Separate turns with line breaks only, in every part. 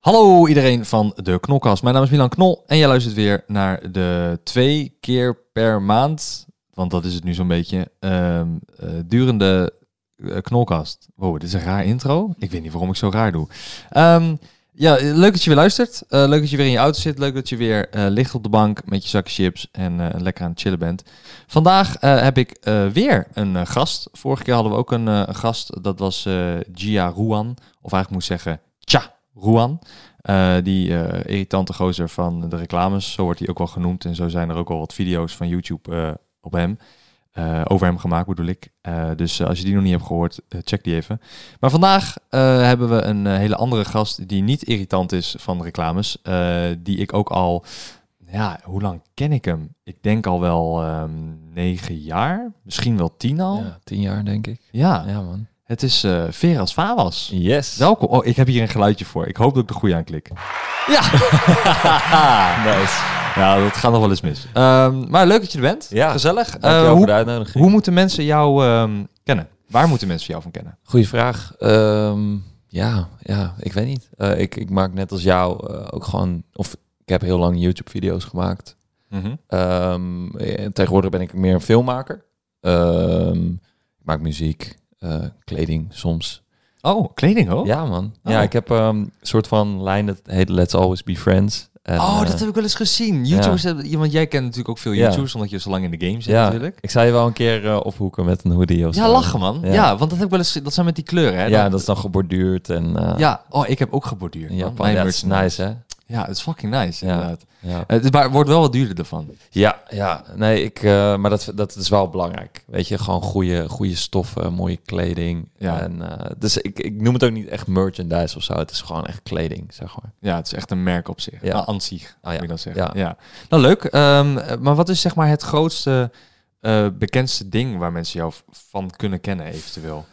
Hallo iedereen van de Knolkast. Mijn naam is Milan Knol en jij luistert weer naar de twee keer per maand, want dat is het nu zo'n beetje, ehm, eh, durende eh, Knolkast. Wow, dit is een raar intro. Ik weet niet waarom ik zo raar doe. Ehm, ja, eh, leuk dat je weer luistert. Eh, leuk dat je weer in je auto zit. Leuk dat je weer eh, ligt op de bank met je zak chips en eh, lekker aan het chillen bent. Vandaag eh, heb ik eh, weer een eh, gast. Vorige keer hadden we ook een eh, een gast. Dat was eh, Gia Ruan. Of eigenlijk moet ik zeggen, Tja Ruan. Eh, die eh, irritante gozer van de reclames. Zo wordt hij ook wel genoemd. En zo zijn er ook al wat video's van YouTube eh, op hem. eh, over hem gemaakt bedoel ik. Eh, dus eh, als je die nog niet hebt gehoord, eh, check die even. Maar vandaag eh, hebben we een eh, hele andere gast die niet irritant is van reclames. eh, die ik ook al, ja, hoe lang ken ik hem? Ik denk al wel ehm, negen jaar, misschien wel tien al. Ja,
Ja, tien jaar denk ik. Ja, man.
het is eh Veras Favas.
Yes.
Welkom. Oh, ik heb hier een geluidje voor. Ik hoop dat ik de goede aanklik. Ja. nice. Ja, dat gaat nog wel eens mis. Ehm, maar leuk dat je er bent.
Ja.
Gezellig.
Dankjewel
Eh,
voor de
hoe,
uitnodiging.
hoe moeten mensen jou ehm, kennen? Waar moeten mensen jou van kennen?
Goeie vraag. Ehm, ja, ja, ik weet niet. Eh, ik, ik maak net als jou eh, ook gewoon... Of ik heb heel lang YouTube-video's gemaakt. Mhm. Ehm, en tegenwoordig ben ik meer een filmmaker. Ehm, ik maak muziek, eh, kleding soms.
Oh, kleding ook?
Ja, man.
Oh.
Ja, ik heb ehm, een soort van lijn dat heet Let's Always Be Friends. En,
Oh,
eh,
dat heb ik wel eens gezien. YouTubers hebben, want jij kent natuurlijk ook veel
Ja.
YouTubers, omdat je zo lang in de game zit
ja,
natuurlijk.
Ik zou je wel een keer eh, ophoeken met een hoodie of
Ja,
zo.
lachen man. Ja.
Ja.
want dat heb ik wel eens. Dat zijn met die kleuren, hè?
Ja,
Dan-
dat is dan geborduurd en... eh,
ja. Oh, ik heb ook geborduurd.
Ja,
man.
man,
Mijn
dat is
merchandise.
nice, hè?
Ja, het is fucking nice
Ja.
inderdaad.
Ja,
Het is, maar het wordt wel wat duurder ervan.
ja, nee, ik, eh, maar dat, dat is wel belangrijk. Weet je, gewoon goede, goede stoffen, mooie kleding.
Ja.
En, eh, dus ik, ik noem het ook niet echt merchandise of zo. Het is gewoon echt kleding, zeg maar.
Ja, het is echt een merk op zich.
Ja.
Nou, aan zich,
Ah, ja.
moet je dan zeggen. Ja.
Ja.
Nou, leuk. Ehm, maar wat is zeg maar het grootste, eh, bekendste ding waar mensen jou v- van kunnen kennen eventueel?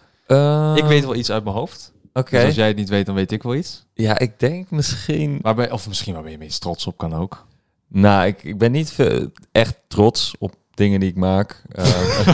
ik weet wel iets uit mijn hoofd.
Eh, Oké.
Dus als jij het niet weet, dan weet ik wel iets.
Ja, ik denk misschien...
Waarbij, of misschien waar ben je meest trots op kan ook.
Nou, ik, ik ben niet ve- echt trots op dingen die ik maak. Eh,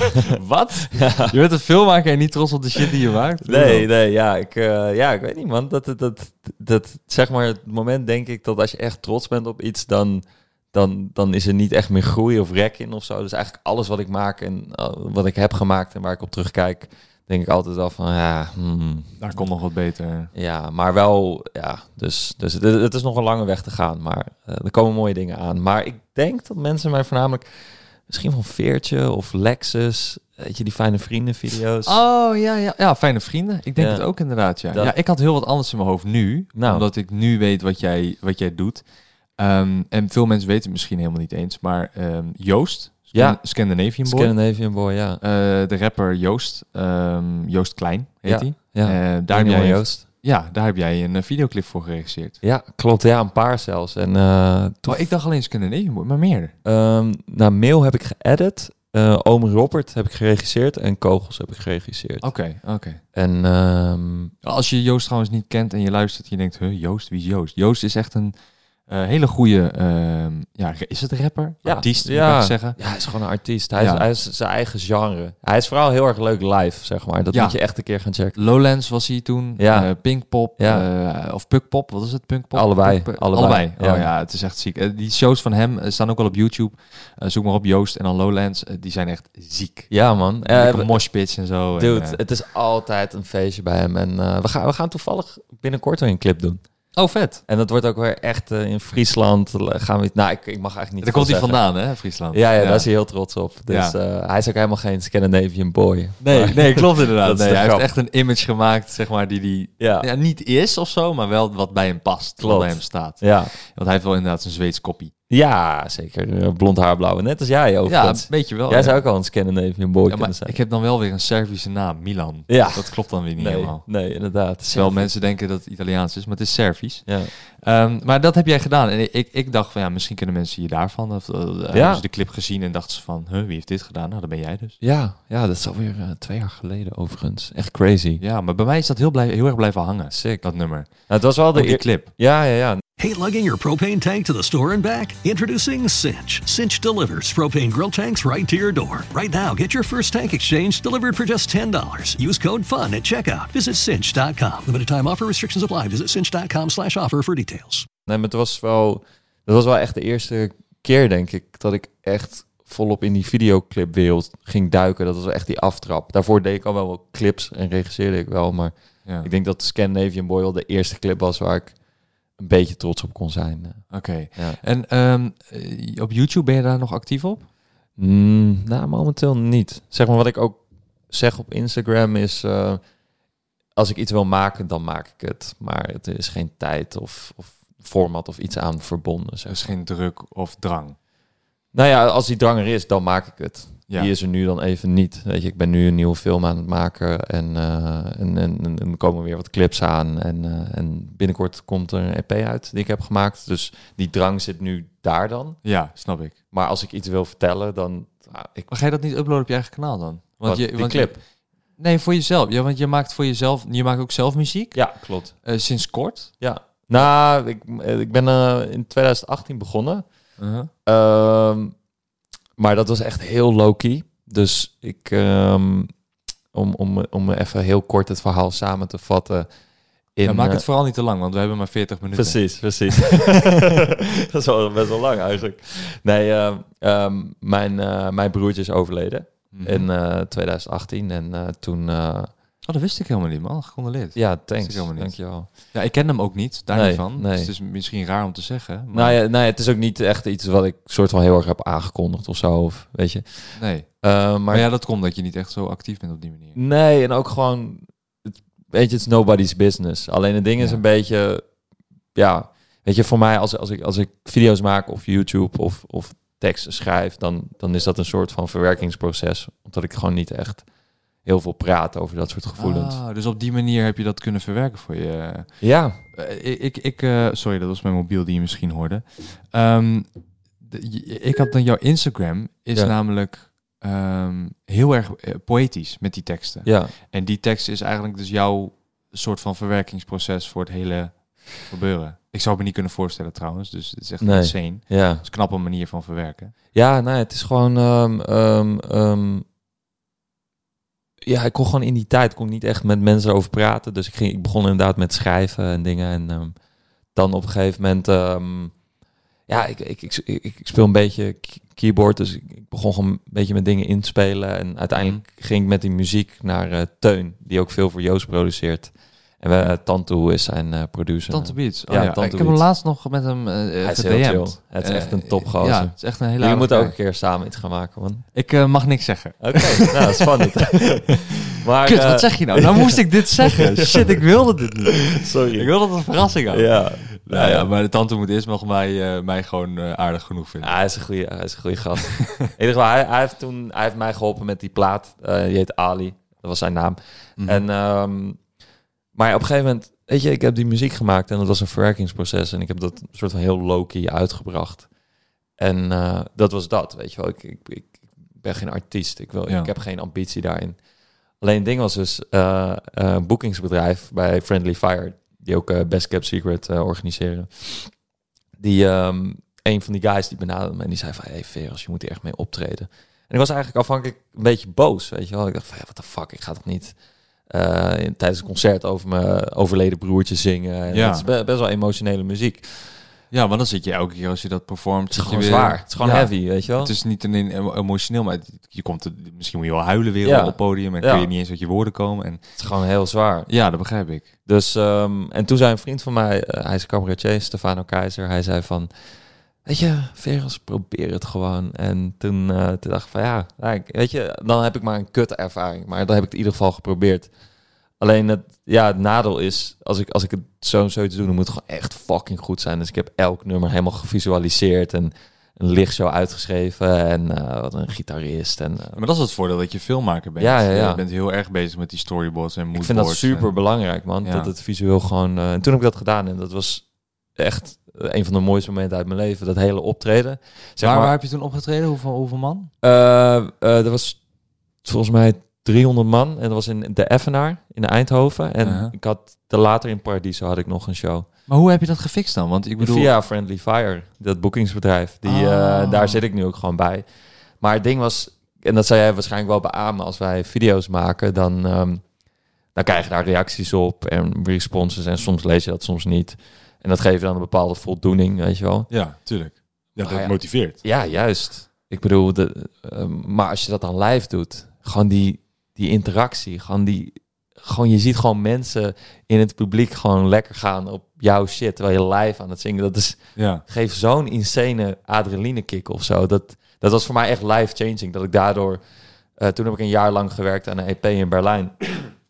wat? Je bent een filmmaker en niet trots op de shit die je maakt?
Nee, nee, ja, ik, eh, ja, ik weet niet, man. Dat, dat, dat, dat, zeg maar, het moment denk ik dat als je echt trots bent op iets, dan, dan, dan is er niet echt meer groei of rek in of zo. Dus eigenlijk alles wat ik maak en eh, wat ik heb gemaakt en waar ik op terugkijk, denk ik altijd al van, ja, hmm,
Daar komt nog wat beter.
ja, maar wel, ja, dus, dus het, het is nog een lange weg te gaan, maar eh, er komen mooie dingen aan. Maar ik denk dat mensen mij voornamelijk misschien van Veertje of Lexus, weet je, die fijne vrienden video's.
Oh ja, ja, ja, fijne vrienden. Ik denk
Ja.
het ook inderdaad. Ja.
Dat-
ja, ik had heel wat anders in mijn hoofd nu,
Nou.
omdat ik nu weet wat jij, wat jij doet. Ehm, en veel mensen weten het misschien helemaal niet eens, maar ehm, Joost, Scan-
Ja.
Scandinavian Boy,
Scandinavian Boy, ja.
eh, de rapper Joost, ehm, Joost Klein heet
Ja,
hij.
ja.
Eh, daar, heb
Daniel
jij,
Joost.
ja, daar heb jij een eh, videoclip voor geregisseerd.
Ja, klopt. Ja, een paar zelfs. En eh, toen,
Oh, ik dacht alleen Scandinavian Boy, maar meer.
ehm, nou, Mail heb ik geëdit. eh Oom Robert heb ik geregisseerd. En Kogels heb ik geregisseerd.
Oké, oké.
En ehm,
Als je Joost trouwens niet kent en je luistert en je denkt, huh, Joost, wie is Joost? Joost is echt een eh, hele goede, ehm, ja, is het rapper?
Ja.
Artiest, moet
Ja.
ik zeggen.
ja, hij is gewoon een artiest. Hij,
Ja.
is, hij is zijn eigen genre. Hij is vooral heel erg leuk live, zeg maar. Dat
Ja.
moet je echt een keer gaan checken.
Lowlands was hij toen,
Ja.
eh, Pinkpop,
Ja.
eh, of Pukpop, wat is het? Punkpop?
Allebei,
Pukpop?
allebei, ja.
Oh ja, het is echt ziek. Eh, die shows van hem eh, staan ook wel op YouTube. Eh, zoek maar op Joost en dan Lowlands. Eh, die zijn echt ziek.
Ja, man. Eh,
Lekker
we-
moshpits en zo.
dude,
en, eh,
het is altijd een feestje bij hem. En eh, we, gaan, we gaan toevallig binnenkort weer een clip doen.
oh, vet.
En dat wordt ook weer echt eh, in Friesland. Gaan we, nou, ik, ik mag eigenlijk
Daar
niet veel
komt hij
zeggen.
vandaan, hè, Friesland.
Ja, ja, daar is hij heel trots op. Dus eh, hij is ook helemaal geen Scandinavian boy.
Nee, nee, klopt inderdaad.
Dat is
Nee,
de
hij
grap.
heeft echt een image gemaakt, zeg maar, die die
Ja.
ja, niet is of zo, maar wel wat bij hem past, wat
Klopt.
bij hem staat.
Ja,
Want hij heeft wel inderdaad zijn Zweeds koppie.
Ja, zeker. Eh, Blond haar, blauwe netters. Jij
Ja,
overigens.
weet je wel.
Jij
ja.
zou ook al een Scandinavian een boy
Ja,
kunnen
maar
zijn.
ik heb dan wel weer een Servische naam, Milan.
Ja.
Dat klopt dan weer niet
nee,
helemaal.
nee, inderdaad.
Terwijl mensen denken dat het Italiaans is, maar het is Servisch.
Ja.
Ehm, maar dat heb jij gedaan. En ik, ik, ik dacht van ja, misschien kunnen mensen je daarvan. Of, eh, hebben ze de clip gezien en dachten ze van, huh, wie heeft dit gedaan? Nou, dat ben jij dus.
Ja, ja, dat is alweer eh, twee jaar geleden overigens. Echt crazy.
Ja, maar bij mij is dat heel, blij, heel erg blijven hangen.
Sick.
Dat nummer.
Nou, het was wel
Op
de
die
eer-
clip.
Ja, ja, ja.
Hate lugging your propane tank to the store and back? Introducing Cinch. Cinch delivers propane grill tanks right to your door. Right now, get your first tank exchange delivered for just $10. Use code FUN at checkout. Visit cinch.com. Limited time offer restrictions apply. Visit cinch.com slash offer for details.
Nee, maar het was wel, dat was wel echt de eerste keer, denk ik, dat ik echt volop in die videoclipwereld ging duiken. Dat was wel echt die aftrap. Daarvoor deed ik al wel wat clips en regisseerde ik wel. Maar
Ja.
ik denk dat Scandinavian Boy wel de eerste clip was waar ik een beetje trots op kon zijn.
Oké.
Ja.
En ehm, eh, op YouTube ben je daar nog actief op?
Mm, nou, momenteel niet. Zeg maar wat ik ook zeg op Instagram is... eh, als ik iets wil maken, dan maak ik het. Maar het is geen tijd of, of format of iets aan verbonden. Zeg.
Dus geen druk of drang.
Nou ja, als die drang er is, dan maak ik het.
Ja.
Die is er nu dan even niet. Weet je, ik ben nu een nieuwe film aan het maken en, eh, en, en, en er komen weer wat clips aan. En, eh, en binnenkort komt er een EP uit die ik heb gemaakt. Dus die drang zit nu daar dan.
Ja, snap ik.
Maar als ik iets wil vertellen, dan... ah, ik,
Maar ga je dat niet uploaden op je eigen kanaal dan?
Wat,
je,
die
je-
clip?
nee, voor jezelf. Ja, want je maakt voor jezelf, je maakt ook zelf muziek.
ja, klopt.
Eh, sinds kort.
Ja. Nou, ik, eh, ik ben eh, in 2018 begonnen.
Uh-huh.
Ehm, maar dat was echt heel low-key. Dus ik, ehm, om, om, om even heel kort het verhaal samen te vatten. In,
ja, maak
eh,
het vooral niet te lang, want we hebben maar 40 minuten.
Precies, precies. dat is wel best wel lang eigenlijk. Nee, ehm, ehm, mijn, eh, mijn broertje is overleden
Mhm.
in eh, 2018. En eh, toen... eh,
Oh, dat wist ik helemaal niet, man. Gecondoleerd. Ja.
ja,
ik
thanks.
helemaal niet.
Dankjewel.
ik ken hem ook niet, daar
Nee,
niet van.
nee.
Dus het is misschien raar om te zeggen. maar-
Nou ja, nou ja, het is ook niet echt iets wat ik soort van heel erg heb aangekondigd of zo. Of, weet je.
Nee.
Eh, maar
Maar ja, dat komt dat je niet echt zo actief bent op die manier.
Nee, en ook gewoon, het, weet je, it's nobody's business. Alleen het ding is
Ja.
een beetje, ja, weet je, voor mij als, als, ik, als ik video's maak of YouTube of, of teksten schrijf, dan, dan is dat een soort van verwerkingsproces. Omdat ik gewoon niet echt heel veel praat over dat soort gevoelens.
Ah, dus op die manier heb je dat kunnen verwerken voor je.
Ja,
Eh, ik, ik, ik, eh, sorry, dat was mijn mobiel die je misschien hoorde. Ehm, de- je- ik had dan jouw Instagram, is
Ja.
namelijk ehm, heel erg eh, poëtisch met die teksten.
ja,
En die tekst is eigenlijk dus jouw soort van verwerkingsproces voor het hele gebeuren. Ik zou het me niet kunnen voorstellen trouwens, dus het is echt
Nee.
insane. Het
ja.
is een knappe manier van verwerken.
Ja, nou, het is gewoon, ehm, ehm, ehm, ja, ik kon gewoon in die tijd kon ik niet echt met mensen over praten. Dus ik, ging, ik begon inderdaad met schrijven en dingen. En ehm, dan op een gegeven moment, ehm, ja, ik, ik, ik, ik, ik speel een beetje k- keyboard. Dus ik, ik begon gewoon een beetje met dingen inspelen. En uiteindelijk ging ik met die muziek naar eh, Teun, die ook veel voor Joost produceert. En we, eh, Tantu is zijn eh, producer.
Tante Beats. Oh, ja,
Ja, Tante
ik heb hem
Beats.
laatst nog met hem eh
Hij is heel
gedm'd.
chill. Het is
Eh,
echt een topgozer.
Ja, het is echt een hele
Jullie
aardige
moeten ook
guy.
een keer samen iets gaan maken, man.
Ik eh, mag niks zeggen.
Oké, nou, spannend. maar,
Kut,
eh,
wat zeg je nou? Nou moest ik dit zeggen. Shit, ik wilde dit niet. Ik
Sorry.
wilde dat het een verrassing had.
Ja.
Nou ja, maar de tante moet eerst nog mij, eh, mij gewoon eh, aardig genoeg
Ah,
vinden.
hij is een goede, hij is een goede gast. In ieder geval, hij, hij heeft toen, hij heeft mij geholpen met die plaat. Eh, die heet Ali, dat was zijn naam.
Mhm.
En, ehm, maar op een gegeven moment, weet je, ik heb die muziek gemaakt en dat was een verwerkingsproces. En ik heb dat soort van heel low-key uitgebracht. En eh, dat was dat, weet je wel. Ik, ik, ik ben geen artiest, ik, wil,
Ja.
ik heb geen ambitie daarin. Alleen het ding was dus, eh, eh, een boekingsbedrijf bij Friendly Fire, die ook eh, Best Kept Secret eh, organiseren. Die, ehm, een van die guys die benaderde me en die zei van... hey Veros, je moet hier echt mee optreden. En ik was eigenlijk afhankelijk een beetje boos, weet je wel. Ik dacht van, ja, wat de fuck, ik ga toch niet eh, in- tijdens een concert over mijn overleden broertje zingen. En
Ja.
Dat is be- best wel emotionele muziek. Het
Ja, maar dan zit je elke keer als je dat performt...
is gewoon zwaar, het is gewoon heavy, weet je wel.
Het is niet alleen emo- emotioneel, maar het- je komt er, misschien moet je wel huilen weer
Ja.
op het podium en
Ja.
kun je niet eens uit je woorden komen. En,
Het is gewoon heel zwaar.
ja, dat begrijp ik.
Dus, ehm, en toen zei een vriend van mij, eh, hij is cabaretier, Stefano Keizer, hij zei van... Weet je, Veros, probeer het gewoon. En toen, eh, toen dacht ik van ja, nou, ik- weet je, dan heb ik maar een kut ervaring. Maar dan heb ik het in ieder geval geprobeerd. Alleen het, ja, het nadeel is, als ik, als ik het zo zoiets doe, dan moet het gewoon echt fucking goed zijn. Dus ik heb elk nummer helemaal gevisualiseerd en een lichtshow uitgeschreven en eh, wat een gitarist. En, eh,
Maar dat is het voordeel dat je filmmaker bent.
Ja, ja, ja.
Je bent heel erg bezig met die storyboards en
ik
moodboards.
vind dat
en-
super belangrijk, man.
Ja.
Dat het visueel gewoon. eh, en toen heb ik dat gedaan en dat was echt eh, een van de mooiste momenten uit mijn leven. Dat hele optreden.
waar,
Zeg maar,
waar heb je toen opgetreden? Hoeveel, hoeveel man?
eh eh, er was volgens mij 300 man en dat was in de Effenaar in Eindhoven. En
Ja.
ik had te later in Paradiso had ik nog een show.
Maar hoe heb je dat gefixt dan? Want ik bedoel...
Via Friendly Fire, dat boekingsbedrijf. Die,
Ah.
eh, daar zit ik nu ook gewoon bij. Maar het ding was, en dat zou jij waarschijnlijk wel beamen, als wij video's maken, dan, ehm, dan krijg je daar reacties op en responses. En soms lees je dat, soms niet. En dat geeft dan een bepaalde voldoening, weet je wel.
Ja, tuurlijk. Ja,
Ah, ja.
motiveert.
Ja, juist. Ik bedoel, de, ehm, maar als je dat dan live doet, gewoon die, die interactie, gewoon die... Gewoon, je ziet gewoon mensen in het publiek gewoon lekker gaan op jouw shit, terwijl je live aan het zingen. Dat is,
Ja.
geeft zo'n insane adrenalinekick of zo. Dat, dat was voor mij echt life-changing. Dat ik daardoor... eh, toen heb ik een jaar lang gewerkt aan een EP in Berlijn.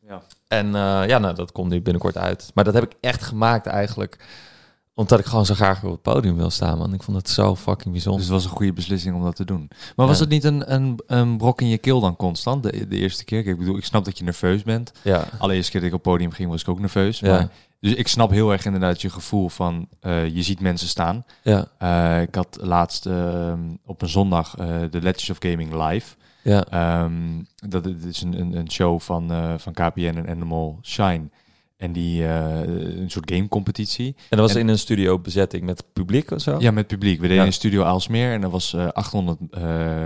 Ja.
En eh, ja, nou, dat komt nu binnenkort uit. Maar dat heb ik echt gemaakt eigenlijk... omdat ik gewoon zo graag op het podium wil staan, man. Ik vond het zo fucking
Dus
bijzonder.
het was een goede beslissing om dat te doen. Maar was
Ja.
het niet een, een, een brok in je keel dan constant, de, de eerste keer? Kijk, ik bedoel, ik snap dat je nerveus bent.
Ja,
Allereerste keer dat ik op het podium ging, was ik ook nerveus.
Ja.
Maar, dus ik snap heel erg inderdaad je gevoel van, eh, je ziet mensen staan.
ja,
Eh, ik had laatst ehm, op een zondag eh, de Legends of Gaming live.
ja.
Ehm, dat het is een, een, een show van, eh, van KPN en Animal Shine. En die eh, een soort gamecompetitie.
En dat was
En-
in een studio bezetting met publiek of zo?
Ja, met publiek. We deden
Ja.
in Studio Aalsmeer en er was eh, 800 eh,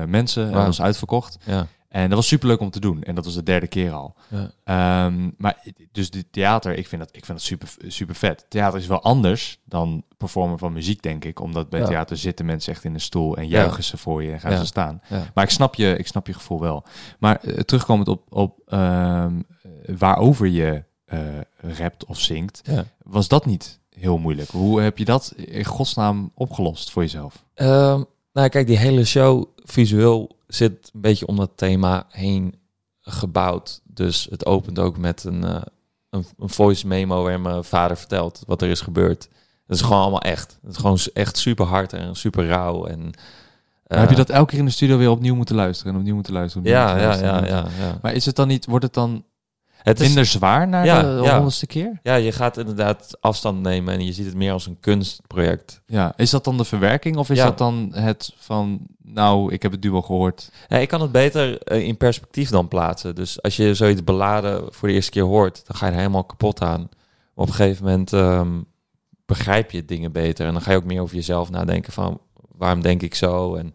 mensen. En dat
Wauw.
was uitverkocht.
Ja,
En dat was superleuk om te doen. En dat was de derde keer al.
ja.
Ehm, maar dus de theater, ik vind dat, ik vind dat super, super vet. Theater is wel anders dan performen van muziek, denk ik. Omdat bij
Ja.
theater zitten mensen echt in een stoel en juichen ze voor je en gaan
Ja.
ze staan.
Ja.
Maar ik snap, je, ik snap je gevoel wel. Maar eh, terugkomend op, op ehm, waarover je eh, rapt of zingt,
ja.
was dat niet heel moeilijk. Hoe heb je dat in godsnaam opgelost voor jezelf?
Ehm, nou, kijk, die hele show visueel zit een beetje om dat thema heen gebouwd. Dus het opent ook met een, eh, een, een voice memo waarin mijn vader vertelt wat er is gebeurd. Dat is gewoon allemaal echt. Het is gewoon s- echt super hard en super rauw. En, eh,
Maar heb je dat elke keer in de studio weer opnieuw moeten luisteren en opnieuw moeten luisteren? opnieuw
Ja,
moeten
ja,
luisteren?
ja, ja. ja.
Maar is het dan niet, wordt het dan
Het is,
minder zwaar na
Ja,
de
ja.
honderdste keer?
ja, je gaat inderdaad afstand nemen en je ziet het meer als een kunstproject.
Ja, is dat dan de verwerking of is
Ja.
dat dan het van, nou, ik heb het duo gehoord.
Ja, ik kan het beter eh, in perspectief dan plaatsen. Dus als je zoiets beladen voor de eerste keer hoort, dan ga je er helemaal kapot aan. Maar op een gegeven moment ehm, begrijp je dingen beter. En dan ga je ook meer over jezelf nadenken van waarom denk ik zo. En,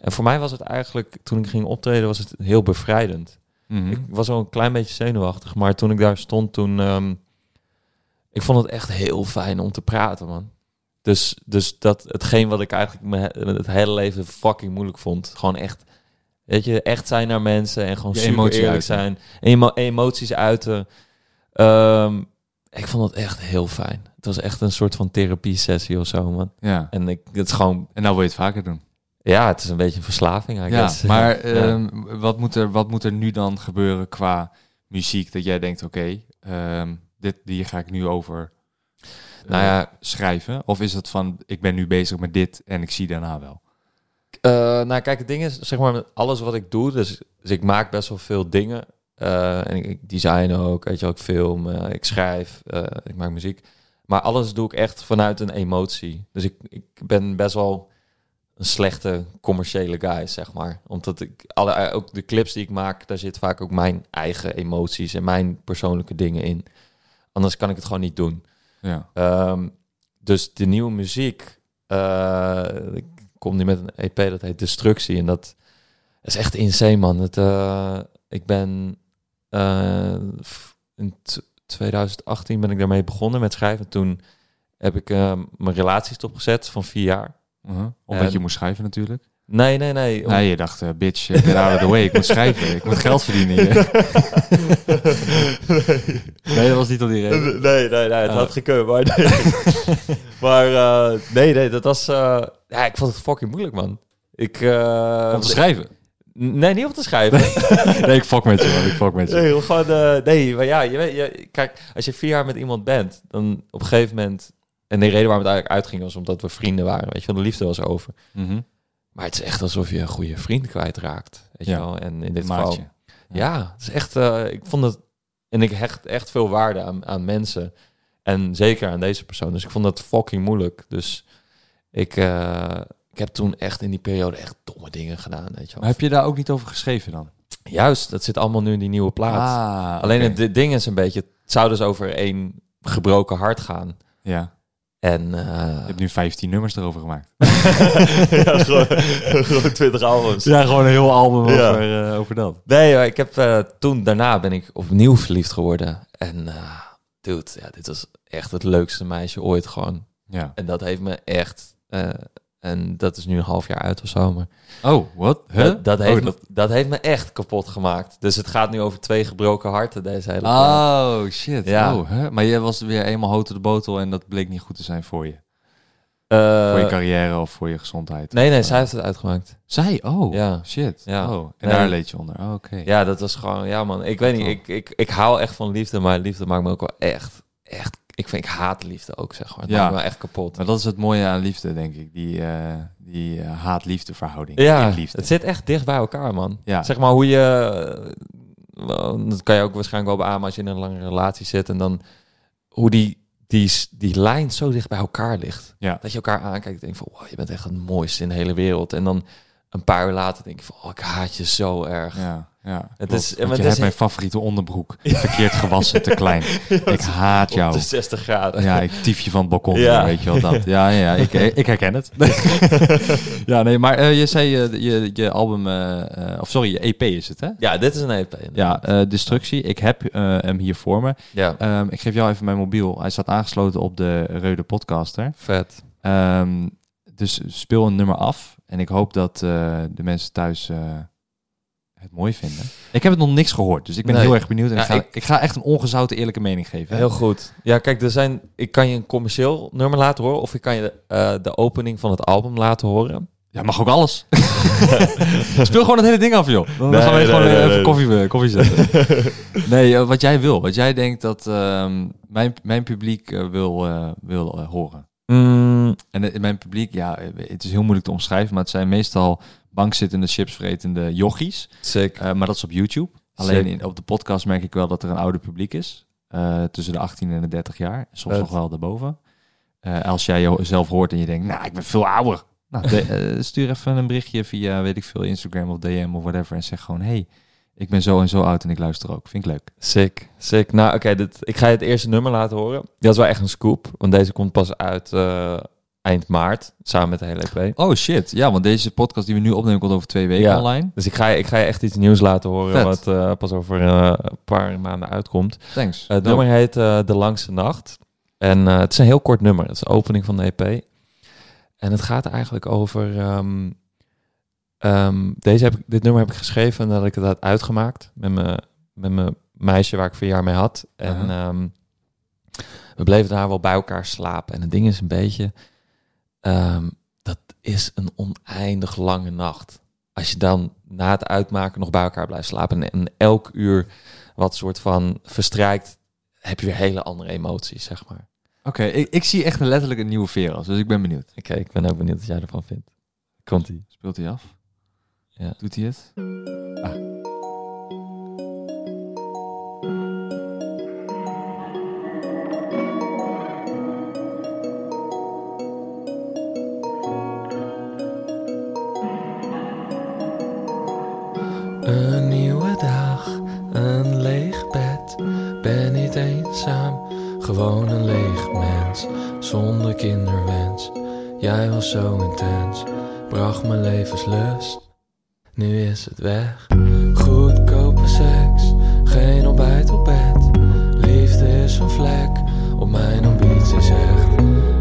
en voor mij was het eigenlijk, toen ik ging optreden, was het heel bevrijdend. Ik was wel een klein beetje zenuwachtig, maar toen ik daar stond, toen... ehm, ik vond het echt heel fijn om te praten, man. Dus, dus dat, hetgeen wat ik eigenlijk me, het hele leven fucking moeilijk vond. Gewoon echt, weet je, echt zijn naar mensen en gewoon
Je
super
emotie
eerlijk
uiten.
zijn. Emo- emoties uiten. Ehm, ik vond het echt heel fijn. Het was echt een soort van therapie sessie of zo, man.
Ja,
En ik, het is gewoon,
en nou wil je het vaker doen.
ja, het is een beetje een verslaving, I
Ja,
guess.
maar
Ja.
ehm, wat, moet er, wat moet er nu dan gebeuren qua muziek dat jij denkt, oké, ehm, dit hier ga ik nu over eh,
Nou ja,
schrijven? Of is het van, ik ben nu bezig met dit en ik zie daarna wel?
Eh, nou, kijk, het ding is, zeg maar, met alles wat ik doe, dus, dus ik maak best wel veel dingen. Eh, en ik, ik design ook, weet je wel, ik film, eh, ik schrijf, eh, ik maak muziek. Maar alles doe ik echt vanuit een emotie. Dus ik, ik ben best wel een slechte commerciële guy, zeg maar. Omdat ik, alle, eh, ook de clips die ik maak, daar zit vaak ook mijn eigen emoties en mijn persoonlijke dingen in. Anders kan ik het gewoon niet doen.
Ja.
Ehm, dus de nieuwe muziek. eh, ik kom nu met een EP dat heet Destructie. En dat is echt insane, man. Het, eh, ik ben eh, f- in t- 2018 ben ik daarmee begonnen met schrijven. Toen heb ik eh, mijn relatie stopgezet van vier jaar.
Uh-huh. Omdat
En-
je moest schrijven natuurlijk.
Nee, nee, nee. om-
Nee, je dacht, eh, bitch, eh, get out of the way, ik moet schrijven, ik moet geld verdienen hier. Nee, dat was niet al die reden.
Nee, nee, nee, het
Oh.
had gekund, maar nee. maar eh, nee, nee, dat was... eh, ja, ik vond het fucking moeilijk, man. Ik, eh,
Om te schrijven.
Nee, niet op te schrijven.
Nee, ik fuck met je, man. Ik fuck met je.
Nee, gewoon, eh, nee, maar ja, je, weet- je, kijk, als je vier jaar met iemand bent, dan op een gegeven moment... En de reden waarom het eigenlijk uitging was omdat we vrienden waren. Weet je wel, de liefde was over.
Mhm.
Maar het is echt alsof je een goede vriend kwijtraakt. Weet
Ja.
je wel? En in dit geval...
Maatje.
Ja, het is echt... eh, ik vond het... En ik hecht echt veel waarde aan, aan mensen. En zeker aan deze persoon. Dus ik vond dat fucking moeilijk. Dus ik, eh, ik heb toen echt in die periode echt domme dingen gedaan. Weet je wel.
Maar heb je daar ook niet over geschreven dan?
Juist, dat zit allemaal nu in die nieuwe plaat.
Ah,
Alleen
oké.
het di- ding is een beetje... Het zou dus over één gebroken hart gaan.
Ja,
En...
je
eh,
hebt nu 15 nummers erover gemaakt.
ja, gewoon, gewoon 20 albums.
Ja, gewoon een heel album
Ja.
over, eh, over dat.
Nee, maar ik heb eh, toen daarna ben ik opnieuw verliefd geworden. En eh, dude, ja, dit was echt het leukste meisje ooit gewoon.
Ja.
En dat heeft me echt. eh, en dat is nu een half jaar uit of zo. Maar
Oh, wat? Huh?
dat, dat, heeft
Oh,
me, dat heeft me echt kapot gemaakt. Dus het gaat nu over twee gebroken harten deze hele plaat.
Oh, shit.
Ja.
Oh, hè? Maar jij was weer eenmaal hout op de botel en dat bleek niet goed te zijn voor je.
Eh,
voor je carrière of voor je gezondheid.
nee, nee,
Of, eh,
zij heeft het uitgemaakt.
Zij? Oh,
Ja.
shit.
Ja.
Oh, en
Nee.
daar leed je onder. Oh, Oké.
Ja, dat was gewoon, ja man, ik weet niet, ik, ik, ik hou echt van liefde, maar liefde maakt me ook wel echt, echt, ik vind, ik haat liefde ook, zeg maar. Het
Ja.
maakt me wel echt kapot.
Maar dat is het mooie aan liefde, denk ik. Die, eh, die eh, haat-liefde verhouding.
Ja,
In liefde.
het zit echt dicht bij elkaar, man.
Ja.
Zeg maar hoe je... eh, wel, Dat kan je ook waarschijnlijk wel beamen als je in een lange relatie zit. En dan hoe die, die, s- die lijn zo dicht bij elkaar ligt.
Ja.
Dat je elkaar aankijkt en denkt van... Wow, je bent echt het mooiste in de hele wereld. En dan een paar uur later denk je van... Oh, ik haat je zo erg.
Ja, ja.
Het
Het
is-
is,
maar
Want je
het is
hebt
he-
mijn favoriete onderbroek. Verkeerd gewassen, te klein. Ik haat
Op
jou.
de 60 graden.
Ja, ik tief je van het balkon,
Ja.
weet je wel dat. Ja, ja, ja, ik, ik herken het. ja, nee, maar eh, je zei eh, je, je album, eh, eh, of sorry, je EP is het, hè?
Ja, dit is een EP.
Ja, eh, Destructie. Ik heb eh, hem hier voor me.
Ja,
Ehm, ik geef jou even mijn mobiel. Hij staat aangesloten op de Reude Podcaster.
vet.
Ehm, dus speel een nummer af. En ik hoop dat eh, de mensen thuis eh, het mooi vinden. Ik heb het nog niks gehoord, dus ik ben
Nee.
heel erg benieuwd. En
Ja,
ik, ga,
ik-
ik... ga echt een ongezouten eerlijke mening geven.
Heel goed. Ja, kijk, er zijn, ik kan je een commercieel nummer laten horen... of ik kan je eh, de opening van het album laten horen.
Ja, mag ook alles. Speel gewoon het hele ding af, joh. Dan
Nee,
gaan we
nee,
gewoon
nee,
even
nee.
koffie, eh, koffie zetten. nee, eh, wat jij wil. Wat jij denkt dat ehm, mijn, mijn publiek eh, wil, eh, wil eh, horen.
Mm,
En eh, mijn publiek, ja, eh, het is heel moeilijk te omschrijven, maar het zijn meestal bankzittende, chipsvretende jochies.
sick.
Eh, maar dat is op YouTube. Alleen
Zeker.
in, op de podcast merk ik wel dat er een ouder publiek is. Eh, tussen de 18 en de 30 jaar. Soms
Vet.
nog wel daarboven. Eh, als jij jezelf hoort en je denkt, nou, ik ben veel ouder. Nou, de- eh, stuur even een berichtje via, weet ik veel, Instagram of DM of whatever. En zeg gewoon, hey, ik ben zo en zo oud en ik luister ook. Vind ik leuk.
Sick, sick. Nou, oké, dit- ik ga je het eerste nummer laten horen. Dat is wel echt een scoop, want deze komt pas uit eh, eind maart, samen met de hele E EP.
Oh shit, ja, want deze podcast die we nu opnemen komt over twee weken
Ja.
online.
Dus ik ga, je- ik ga je echt iets nieuws laten horen,
Vet.
wat eh, pas over eh, een paar maanden uitkomt.
Thanks.
Eh, het
Dope.
nummer heet eh, De Langste Nacht. En eh, het is een heel kort nummer. Het is de opening van de EP. En het gaat eigenlijk over... ehm, ehm, deze heb ik, dit nummer heb ik geschreven nadat ik het had uitgemaakt. Met mijn met mijn meisje waar ik vier jaar mee had. En
Aha.
ehm, we bleven daar wel bij elkaar slapen. En het ding is een beetje... ehm, dat is een oneindig lange nacht. Als je dan na het uitmaken nog bij elkaar blijft slapen... en, en elk uur wat soort van verstrijkt... heb je weer hele andere emoties, zeg maar.
Oké, ik, ik zie echt letterlijk een nieuwe Veras, dus ik ben benieuwd.
Oké, ik ben ook benieuwd wat jij ervan vindt. Komt-ie.
Speelt hij af?
Ja.
Doet hij het?
Een nieuwe dag, een leeg bed. Ben niet eenzaam, gewoon een leeg mens. Zonder kinderwens. Jij was zo intens, bracht mijn levenslust. Nu is het weg. Goedkope seks, geen ontbijt op bed. Liefde is een vlek op mijn ambitie zegt.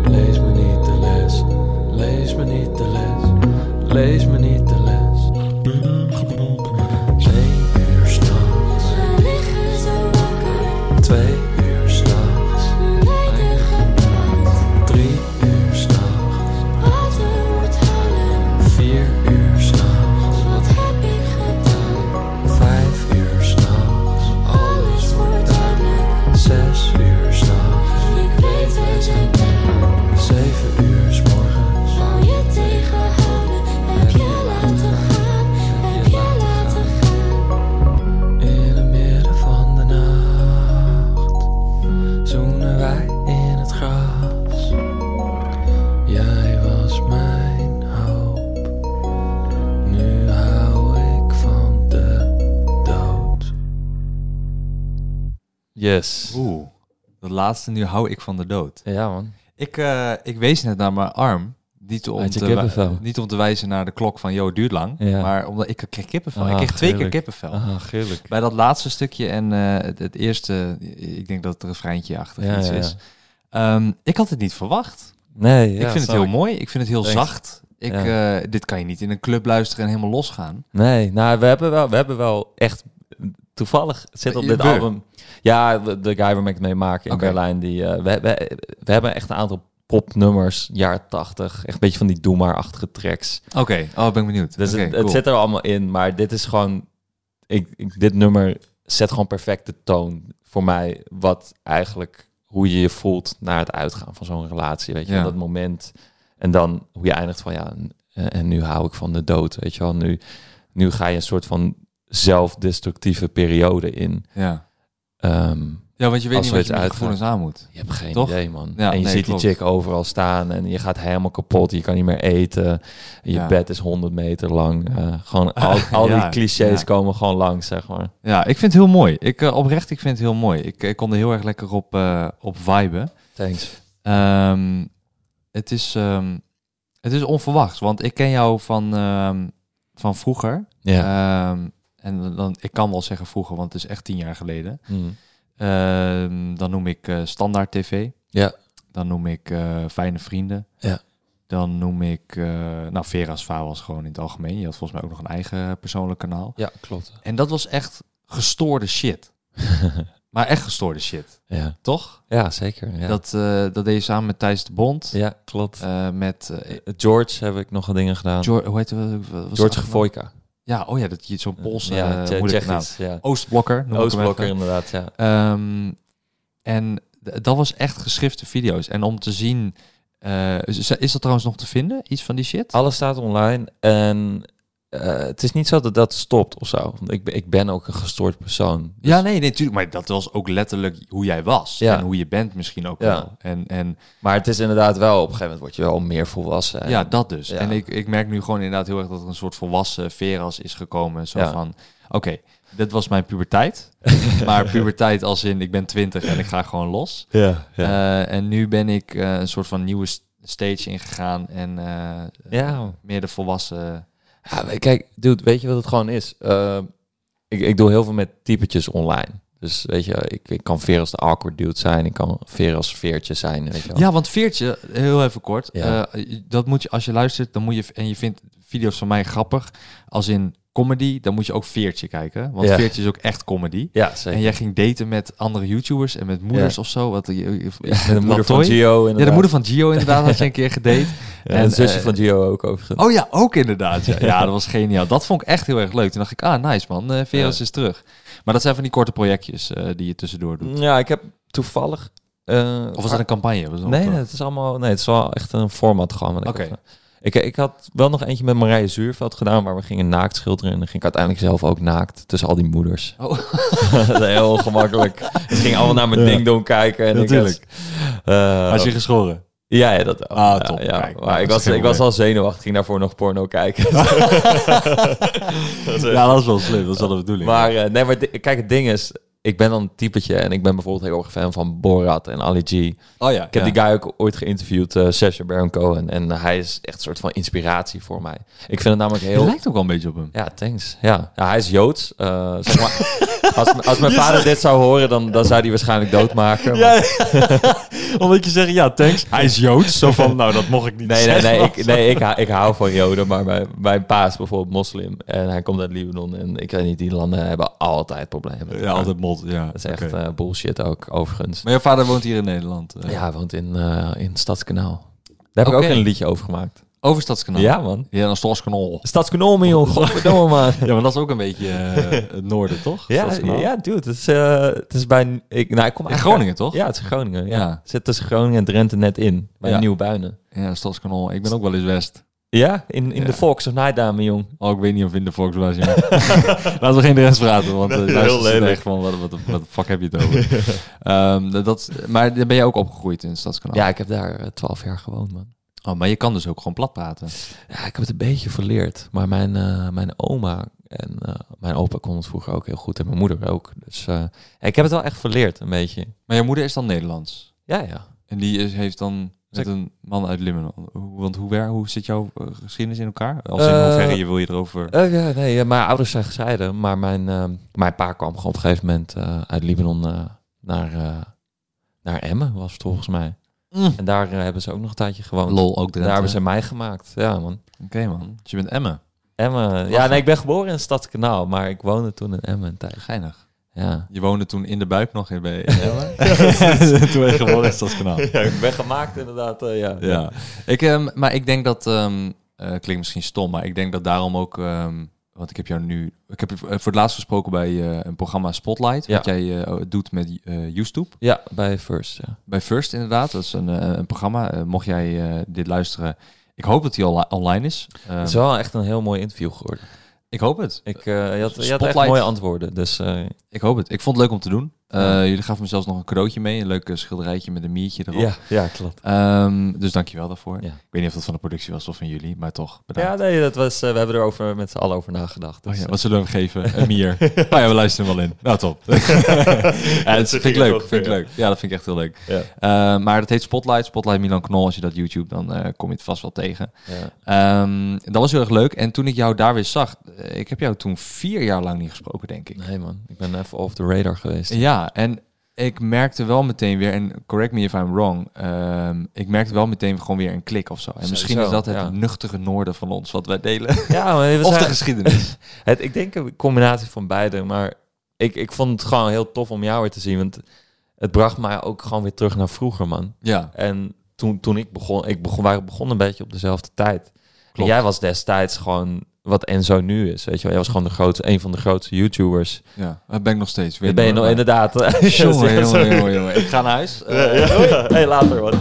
Lees me niet de les, lees me niet de les, lees me niet de les. Twee uur s'nachts,
We liggen zo wakker,
twee uur s'nachts,
oneindig gepraat.
drie uur s'nachts,
Wat we wordt houden,
vier uur s'nachts,
wat heb ik gedaan?
Yes.
Oeh. Dat laatste, nu hou ik van de dood.
Ja, man.
Ik, eh, ik wees net naar mijn arm. Niet om,
Had je
te, wij-
kippenvel?
niet om te wijzen naar de klok van, joh, het duurt lang.
Ja.
Maar omdat ik kreeg kippenvel. ik
Ah,
kreeg twee keer
heerlijk.
kippenvel.
Ah, geerlijk.
Bij dat laatste stukje en eh, het, het eerste, ik denk dat het refreintje achter
Ja,
iets
ja, ja.
is. Ehm, ik had het niet verwacht.
Nee, ja,
ik vind het
snap
heel mooi. Ik vind het heel
Thanks.
zacht. Ik,
Ja.
eh, dit kan je niet in een club luisteren en helemaal losgaan.
Nee, nou, we hebben wel, we hebben wel echt toevallig zit op
Je
dit
beur.
album. Ja, de, de guy waarmee ik het mee maak in
Oké.
Berlijn. Die, eh, we, we, we hebben echt een aantal popnummers, jaar 80. Echt een beetje van die doe maar-achtige tracks.
Oké, oh, ben ik benieuwd.
Dus
Oké,
het, het
cool.
zit er allemaal in, maar dit is gewoon. Ik, ik- dit nummer zet gewoon perfect de toon voor mij. Wat eigenlijk hoe je je voelt na het uitgaan van zo'n relatie. Weet je,
Ja.
wel, dat moment. En dan hoe je eindigt van ja, en, en nu hou ik van de dood. Weet je wel, nu, nu ga je een soort van zelfdestructieve periode in.
Ja.
Ehm,
ja, want je weet niet wat
Als zoiets
je met je
uitgaat.
gevoelens aan moet.
je hebt geen
Toch?
idee, man.
Ja,
en je
nee,
ziet
klopt.
die chick overal staan en je gaat helemaal kapot. Je kan niet meer eten. Je
Ja.
bed is 100 meter lang. Eh, gewoon al, al
Ja,
die clichés
ja.
komen gewoon langs, zeg maar.
Ja, ik vind het heel mooi. Ik, eh, oprecht, ik vind het heel mooi. Ik, ik kon er heel erg lekker op, eh op viben.
Thanks.
Ehm, het, is, ehm, het is onverwachts, want ik ken jou van, ehm, van vroeger.
Ja.
Ehm, en dan, ik kan wel zeggen vroeger, want het is echt tien jaar geleden.
Mm.
Ehm, dan noem ik eh, Standaard TV.
Ja.
Dan noem ik eh, Fijne Vrienden.
Ja.
Dan noem ik... eh, nou, Vera's Vaar was gewoon in het algemeen. Je had volgens mij ook nog een eigen persoonlijk kanaal.
ja, klopt.
En dat was echt gestoorde shit. maar echt gestoorde shit,
Ja,
toch?
ja zeker. Ja.
Dat, eh, dat deed je samen met Thijs de Bond.
ja, klopt.
eh, met eh,
George heb ik nog wat dingen gedaan. George,
George, hoe heet het? Wat was de achternaam?
Gevoika.
Ja, oh ja, dat je zo'n Poolse
ja,
eh,
Tsje-
moeilijke naam.
Tsjechisch, ja.
Oostblokker. noem ik hem
Oostblokker
even.
inderdaad, ja.
Ehm, en d- dat was echt geschrifte video's. En om te zien, eh, is, is dat trouwens nog te vinden? Iets van die shit?
Alles staat online en eh, het is niet zo dat dat stopt of zo. Want ik, ben- ik ben ook een gestoord persoon. Dus-
ja, nee, natuurlijk. maar dat was ook letterlijk hoe jij was.
Ja.
En hoe je bent misschien ook
Ja.
wel. En, en
Maar het is inderdaad wel, op een gegeven moment word je wel meer volwassen. En-
ja, dat dus.
ja.
En ik, ik merk nu gewoon inderdaad heel erg dat er een soort volwassen veras is gekomen. Zo
Ja.
van, oké, dit was mijn puberteit. maar puberteit als in, ik ben twintig en ik ga gewoon los.
ja,
Eh, en nu ben ik eh, een soort van nieuwe s- stage ingegaan en eh,
ja.
meer de volwassen...
Ja, maar kijk, dude, weet je wat het gewoon is? Eh, ik, ik doe heel veel met typetjes online. Dus weet je, ik, ik kan veer als de awkward dude zijn. Ik kan veer als veertje zijn, weet je wel.
Ja, want Veertje, heel even kort.
Ja.
eh, dat moet je, als je luistert, dan moet je, en je vindt video's van mij grappig, als in comedy, dan moet je ook Veertje kijken. Want
Ja.
Veertje is ook echt comedy.
Ja,
En
zeker.
jij ging daten met andere YouTubers en met moeders of zo. Wat, je- je-
de
met
moeder van
Latoy.
Gio
Ja,
inderdaad.
de moeder van Gio inderdaad had je een keer gedate.
en, de zusje
eh,
van Gio ook overigens.
Oh ja, ook inderdaad. Ja. ja, dat was geniaal. Dat vond ik echt heel erg leuk. Toen dacht ik, ah, nice man, eh Veras is terug. Maar dat zijn van die korte projectjes eh, die je tussendoor doet.
Ja, ik heb toevallig... eh,
Of was dat een campagne? Was dat
Nee,
een-
nee, het is allemaal... Nee, het is wel echt een format gewoon. wat ik
eh? Oké.
heb gedaan. Ik, ik had wel nog eentje met Marije Zuurveld gedaan, waar we gingen naakt schilderen. En dan ging ik uiteindelijk zelf ook naakt tussen al die moeders.
Oh,
Dat is heel ongemakkelijk. Ze gingen allemaal naar mijn
Ja.
dingdong kijken. En
Natuurlijk.
Ik was, eh,
had je geschoren?
ja, ja, dat wel.
Ah,
Ja,
top.
Ja,
Kijk, dat
maar ik
is
was,
geen
ik was
probleem.
al zenuwachtig. Ging daarvoor nog porno kijken. Dat is echt-
Ja, dat is wel slim. Dat is wel de bedoeling.
maar eh, nee, maar di- kijk, het ding is... Ik ben dan een typetje en ik ben bijvoorbeeld heel erg fan van Borat en Ali G.
oh ja.
Ik heb die guy ook ooit geïnterviewd, eh Sacha Baron Cohen. En eh, hij is echt een soort van inspiratie voor mij. Ik vind het namelijk
Je
heel...
lijkt ook wel een beetje op hem.
Ja, thanks. Ja, ja hij is Joods. eh, zeg maar, als, m- als mijn vader dit zou horen, dan, dan zou hij waarschijnlijk doodmaken. maar-
Omdat je zegt, ja, thanks. Hij is Joods. Zo van, nou, dat mocht ik niet
nee, nee, nee, ik, nee ik, hou- ik hou van Joden, maar mijn, mijn pa is bijvoorbeeld moslim. En hij komt uit Libanon. En ik weet niet, die landen hebben altijd problemen.
Ja, altijd mot. Ja,
Dat is echt
oké.
eh, bullshit ook, overigens.
Maar jouw vader woont hier in Nederland. eh.
Ja, hij woont in, eh, in Stadskanaal. Daar heb ik
Oké. Nou.
ook een liedje over gemaakt.
Over Stadskanaal.
Ja, man.
Ja, dan Stadskanaal.
Stadskanaal, man, joh. Godverdomme, man.
Ja, maar dat is ook een beetje eh, het noorden, toch?
Ja,
Stadskanaal.
ja, dude. Het is, eh, het is bij... Ik, nou, ik kom
In
eigenlijk-
Groningen, toch?
Ja, het is in Groningen. Ja.
Ja.
Zit tussen Groningen en Drenthe net in. Bij
Ja.
Nieuwbuinen.
Ja, Stadskanaal. Ik ben ook wel eens West.
Ja? In, in
Ja.
de Fox of Nijdame, jong.
Oh, ik weet niet of in de Volkswagen. Laten we geen de rest praten, want
Nee,
eh,
heel
luisteraars zitten
lelijk.
echt van, wat, wat, wat de fuck heb je het over? Ehm, dat, maar daar ben je ook opgegroeid in Stadskanaal?
Ja, ik heb daar eh, 12 jaar gewoond, man.
Oh, maar je kan dus ook gewoon plat praten.
Ja, ik heb het een beetje verleerd. Maar mijn, eh, mijn oma en eh, mijn opa kon het vroeger ook heel goed. En mijn moeder ook. Dus eh, ik heb het wel echt verleerd, een beetje.
Maar je moeder is dan Nederlands.
Ja, ja.
En die is, heeft dan met een man uit Limmen. Want hoe, wer, hoe zit jouw eh, geschiedenis in elkaar? Als in
Eh,
hoeverre je wil je erover...
Eh, ja, nee, ja, mijn ouders zijn gescheiden. Maar mijn, eh, mijn pa kwam gewoon op een gegeven moment eh, uit Libanon eh, naar, eh, naar Emmen, was het volgens mij.
Mm.
En daar eh, hebben ze ook nog een tijdje gewoond.
Lol, ook
daar hebben ze mij gemaakt. Ja, man.
Oké man, dus je bent Emmen.
Emmen. Ja,
Lachen.
nee, ik ben geboren in Stadskanaal, maar ik woonde toen in Emmen een tijd.
Geinig.
Ja.
Je woonde toen in de buik nog in bij in Emmen. toen ben je gewoon in dat kanaal.
ja, ik ben gemaakt inderdaad. eh, ja.
Ja, ik, ehm, maar ik denk dat, ehm, eh, klinkt misschien stom, maar ik denk dat daarom ook, ehm, want ik heb jou nu, ik heb je eh, voor het laatst gesproken bij eh, een programma Spotlight, wat jij eh, doet met eh YouTube.
Ja, bij First. Ja.
Bij First inderdaad, dat is een, eh, een programma. Eh, mocht jij eh, dit luisteren, ik hoop dat die al online is. Ehm,
Het is wel echt een heel mooi interview geworden.
Ik hoop het.
Ik, eh, je, had, je had echt
Spotlight.
mooie antwoorden. Dus eh,
Ik hoop het. Ik vond het leuk om te doen. Eh, Jullie gaven me zelfs nog een cadeautje mee, een leuk eh, schilderijtje met een miertje erop.
ja, ja, klopt.
Ehm, dus dankjewel daarvoor.
Ja.
Ik weet niet of dat van de productie was of van jullie, maar toch bedankt.
Ja, nee, dat was, eh, we hebben er over, met z'n allen over nagedacht.
Oh
Dus,
ja, wat zullen we hem geven? Een mier. oh ja, we luisteren hem wel in. Nou, top. ja, dat vind ik leuk. Vind ik leuk. Ja, dat vind ik echt heel leuk.
Ja.
Eh, maar dat heet Spotlight. Spotlight Milan Knol. Als je dat YouTube, dan eh, kom je het vast wel tegen.
eh, ja.
Ehm, dat was heel erg leuk. En toen ik jou daar weer zag, eh, ik heb jou toen vier jaar lang niet gesproken, denk ik.
Nee man, ik ben even off the radar geweest.
Ja, en ik merkte wel meteen weer, en correct me if I'm wrong, ehm, ik merkte wel meteen gewoon weer een klik of zo. En misschien
Sowieso,
is dat het
ja.
nuchtere noorden van ons, wat wij delen.
Ja, maar we
Of de
zijn-
geschiedenis.
het, ik denk een combinatie van beide. Maar ik, ik vond het gewoon heel tof om jou weer te zien. Want het bracht mij ook gewoon weer terug naar vroeger, man.
ja.
En toen, toen ik begon, ik begon, wij begonnen een beetje op dezelfde tijd. En
Klopt.
jij was destijds gewoon wat Enzo nu is, weet je wel. Jij was gewoon de grootste, een van de grootste YouTubers.
Ja, dat ben ik nog steeds.
Dat ben je nog inderdaad.
Jongen, jongen, jongen, jongen. Ik ga naar huis. Eh,
hey, later, man.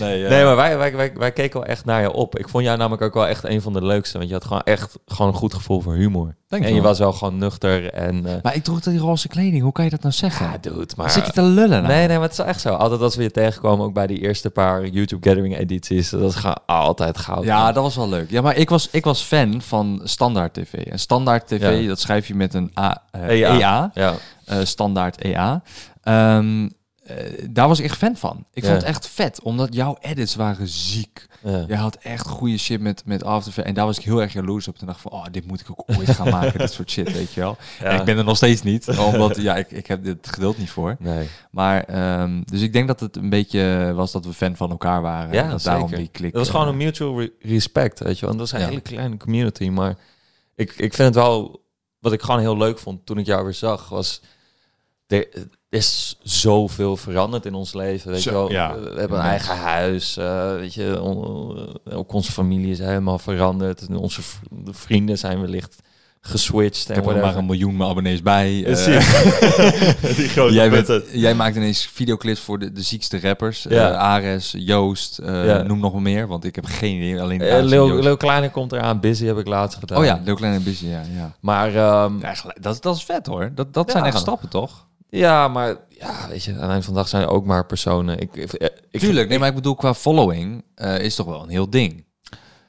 nee, eh,
Nee, maar wij, wij, wij, wij keken wel echt naar je op. Ik vond jou namelijk ook wel echt een van de leukste. Want je had gewoon echt gewoon een goed gevoel voor humor.
Dank je
en je
wel.
was wel gewoon nuchter en... eh
Maar ik droeg die roze kleding. Hoe kan je dat nou zeggen?
ja, dude, maar...
Zit je te lullen? nou?
Nee, nee, maar het is echt zo. Altijd als we je tegenkwamen, ook bij die eerste paar YouTube Gathering edities, dat is gewoon altijd goud.
Ja, dat was wel leuk. Ja, maar ik was, ik was fan van Standaard TV. En Standaard TV,
Ja. E
dat schrijf je met een A, eh,
EA.
EA.
ja.
eh, standaard EA. Ehm, eh, daar was ik echt fan van. Ik
Ja.
vond het echt vet, omdat jouw edits waren ziek.
Ja.
Jij had echt goede shit met, met After Effects. En daar was ik heel erg jaloers op. Toen dacht ik van, oh, dit moet ik ook ooit gaan maken. dit soort shit, weet je wel. En ik ben er nog steeds niet. Omdat, ja, ik, ik heb dit geduld niet voor.
Nee.
Maar, ehm, dus ik denk dat het een beetje was dat we fan van elkaar waren.
Ja,
en dat
zeker.
daarom die klik.
Dat was gewoon
eh,
een mutual re- respect, weet je wel. En dat is een
Ja.
hele kleine community, maar ik, ik vind het wel... Wat ik gewoon heel leuk vond toen ik jou weer zag, was... Er is zoveel veranderd in ons leven, weet
Zo,
je wel.
ja.
We hebben een eigen huis, eh, weet je. on- ook onze familie is helemaal veranderd. Onze v- vrienden zijn wellicht geswitcht.
Ik heb er
whatever.
maar een miljoen abonnees bij. Eh,
die grote
jij, bent- jij maakt ineens videoclips voor de, de ziekste rappers.
Ja.
Eh, Ares, Joost, eh,
Ja.
noem nog maar meer. Want ik heb geen idee. Alleen de
Eh,
Ares en
Lil,
Joost.
Lil Kleine komt eraan, Busy heb ik laatst gedaan.
Oh ja, Lil Klein en Busy, ja. ja.
Maar ehm,
Ja, gelijk. dat, dat is vet hoor. Dat, dat
Ja.
zijn echt stappen, toch?
Ja, maar ja, weet je, aan het eind van de dag zijn er ook maar personen. Ik, ik, ik,
Tuurlijk. Nee, maar ik bedoel, qua following eh, is toch wel een heel ding.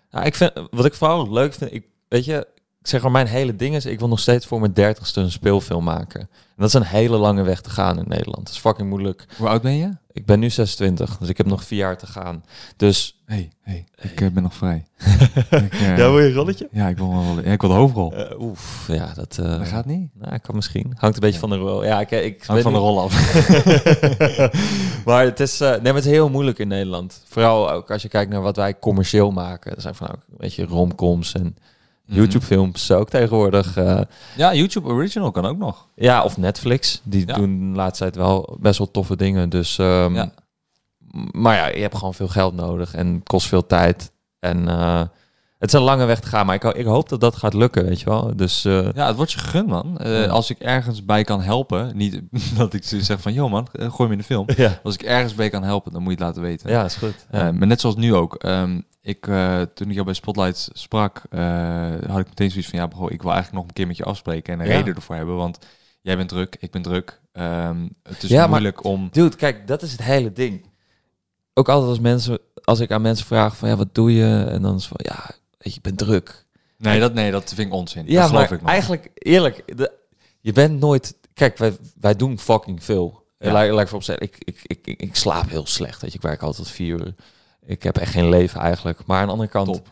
Ja, ik vind, wat ik vooral leuk vind, ik, weet je, ik zeg maar, mijn hele ding is, ik wil nog steeds voor mijn dertigste een speelfilm maken. En dat is een hele lange weg te gaan in Nederland. Dat is fucking moeilijk.
Hoe oud ben je?
Ik ben nu 26, dus ik heb nog vier jaar te gaan. Dus
hey, hey, ik eh, ben nog vrij. ik, eh,
je een rolletje?
ja, ik wil wel. Ja, ik wil de hoofdrol.
eh, Oef, ja, dat, eh,
dat gaat niet.
nou, kan misschien. Hangt een beetje van de rol. Ja, ik, ik
Hangt van
ben
de
nu-
rol af.
maar het is, eh, nee, maar het is heel moeilijk in Nederland. Vooral ook als je kijkt naar wat wij commercieel maken. Dat zijn van ook een beetje romcoms en
Mhm.
YouTube-films ook tegenwoordig. eh,
Ja, YouTube Original kan ook nog.
ja, of Netflix. Die
Ja.
doen de laatste tijd wel best wel toffe dingen. Dus, ehm,
Ja.
m- Maar ja, je hebt gewoon veel geld nodig en het kost veel tijd. En eh, het is een lange weg te gaan, maar ik, ho- ik hoop dat dat gaat lukken, weet je wel. Dus eh,
Ja, het wordt je gegund, man. Eh,
Ja.
Als ik ergens bij kan helpen, niet dat ik zo zeg van, joh man, eh, gooi me in de film.
ja.
Als ik ergens bij kan helpen, dan moet je het laten weten.
ja, is goed. Ja.
Eh, maar net zoals nu ook. ehm, ik, eh, toen ik jou bij Spotlight sprak, eh, had ik meteen zoiets van, ja bro, ik wil eigenlijk nog een keer met je afspreken en een
Ja.
reden ervoor hebben. Want jij bent druk, ik ben druk. Ehm, het is
Ja, maar-
moeilijk om...
Dude, kijk, dat is het hele ding. ook altijd als mensen, als ik aan mensen vraag van ja, wat doe je? En dan is van ja, weet je, ik ben druk.
Nee, dat, nee, dat vind ik onzin.
Ja,
dat geloof
maar
ik nog.
eigenlijk, eerlijk, de- je bent nooit... Kijk, wij, wij doen fucking veel.
Ja.
Ja. Laat, laat ik voorop zeggen, ik, ik, ik, ik, ik slaap heel slecht. Weet je, ik werk altijd vier uur. Ik heb echt geen leven eigenlijk. Maar aan de andere kant,
Top.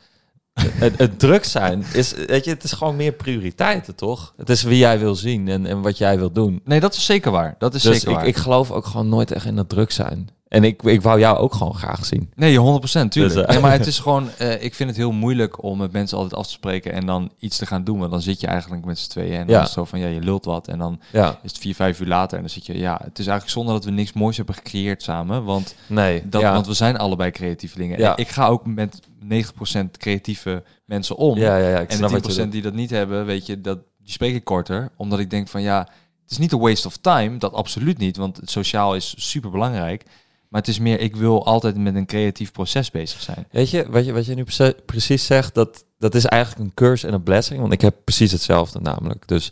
Het, het druk zijn is, weet je, het is gewoon meer prioriteiten, toch? Het is wie jij wil zien en, en wat jij wil doen.
Nee, dat is zeker waar. Dat is
Dus
zeker
ik,
waar.
ik geloof ook gewoon nooit echt in dat druk zijn. En ik, ik wou jou ook gewoon graag zien.
Nee, 100 tuurlijk.
Dus, eh.
nee, maar het is gewoon, eh, ik vind het heel moeilijk om met mensen altijd af te spreken en dan iets te gaan doen. Want dan zit je eigenlijk met z'n tweeën en dan
Ja.
is het zo van, ja, je lult wat. En dan
Ja,
is het vier, vijf uur later en dan zit je, ja, het is eigenlijk zonde dat we niks moois hebben gecreëerd samen. Want,
nee.
dat,
ja.
want we zijn allebei creatievelingen.
Ja.
Ik ga ook met 90 creatieve mensen om.
ja, ja, ja, ik
en
snap
de
wat je
10% die dat niet hebben, weet je, dat, die spreek ik korter. Omdat ik denk van ja, het is niet een waste of time. Dat absoluut niet, want het sociaal is super belangrijk. Maar het is meer, ik wil altijd met een creatief proces bezig zijn.
Weet je, wat je, wat je nu prece- precies zegt, dat, dat is eigenlijk een curse en een blessing. Want ik heb precies hetzelfde namelijk. Dus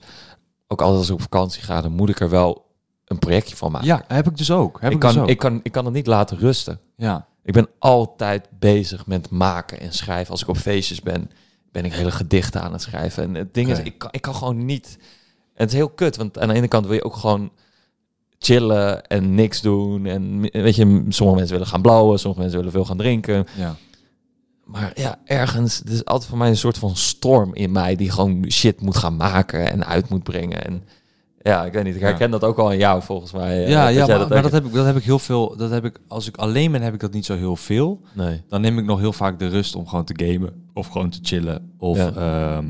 ook altijd als ik op vakantie ga, dan moet ik er wel een projectje van maken.
Ja, heb ik dus ook. Heb ik,
Ah. ik, kan,
dus ook.
ik, kan, ik kan het niet laten rusten.
ja.
Ik ben altijd bezig met maken en schrijven. Als ik op feestjes ben, ben ik hele gedichten aan het schrijven. En het ding
Oké.
is, ik kan, ik kan gewoon niet... En het is heel kut, want aan de ene kant wil je ook gewoon chillen en niks doen. En weet je, sommige mensen willen gaan blauwen, sommige mensen willen veel gaan drinken.
ja.
Maar ja, ergens, het is altijd voor mij een soort van storm in mij die gewoon shit moet gaan maken en uit moet brengen. En ja, ik weet niet, ik herken dat ook al aan jou volgens mij. eh,
Ja,
dat
ja,
jij
maar,
dat
maar
ook-
dat, heb ik, dat heb ik heel veel. Dat heb ik, als ik alleen ben, heb ik dat niet zo heel veel.
Nee.
Dan neem ik nog heel vaak de rust om gewoon te gamen. Of gewoon te chillen. Of
Ja.
ehm,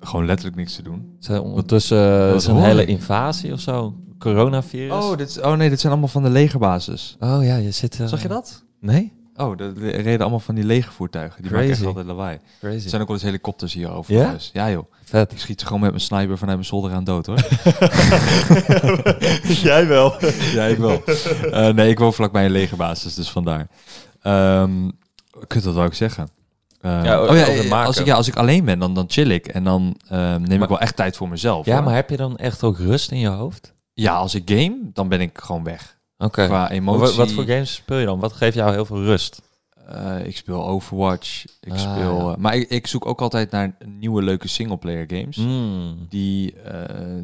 gewoon letterlijk niks te doen.
Zijn ondertussen eh,
Wat
is een
hoor
hele
ik?
invasie of zo, coronavirus.
Oh, dit, oh nee, dit zijn allemaal van de legerbasis.
Oh ja, je zit... eh,
Zag je dat?
Nee?
Oh, de- de- er reden allemaal van die lege voertuigen. Die maken echt
Crazy.
altijd lawaai.
Crazy.
Er zijn ook wel eens helikopters hier over
Ja?
huis. Ja joh.
Vet.
Ik schiet ze gewoon met mijn sniper vanuit mijn zolder aan dood hoor.
Jij wel.
ja, ik wel. Eh, nee, ik woon vlakbij een legerbasis, dus vandaar. Ehm kut, wat wou ik zeggen? Eh,
Ja,
oh, ja,
over
eh,
maken.
als ik, ja, als ik alleen ben, dan, dan chill ik. En dan ehm, neem ik wel echt tijd voor mezelf.
Ja,
hoor.
maar heb je dan echt ook rust in je hoofd?
ja, als ik game, dan ben ik gewoon weg.
Oké.
Qua
Wa-
emotie.
Wat, voor games speel je dan? Wat geeft jou heel veel rust?
Eh, ik speel Overwatch. Ik
Ah,
speel.
ja.
eh, maar ik, ik zoek ook altijd naar nieuwe leuke singleplayer games.
Mm.
Die, eh,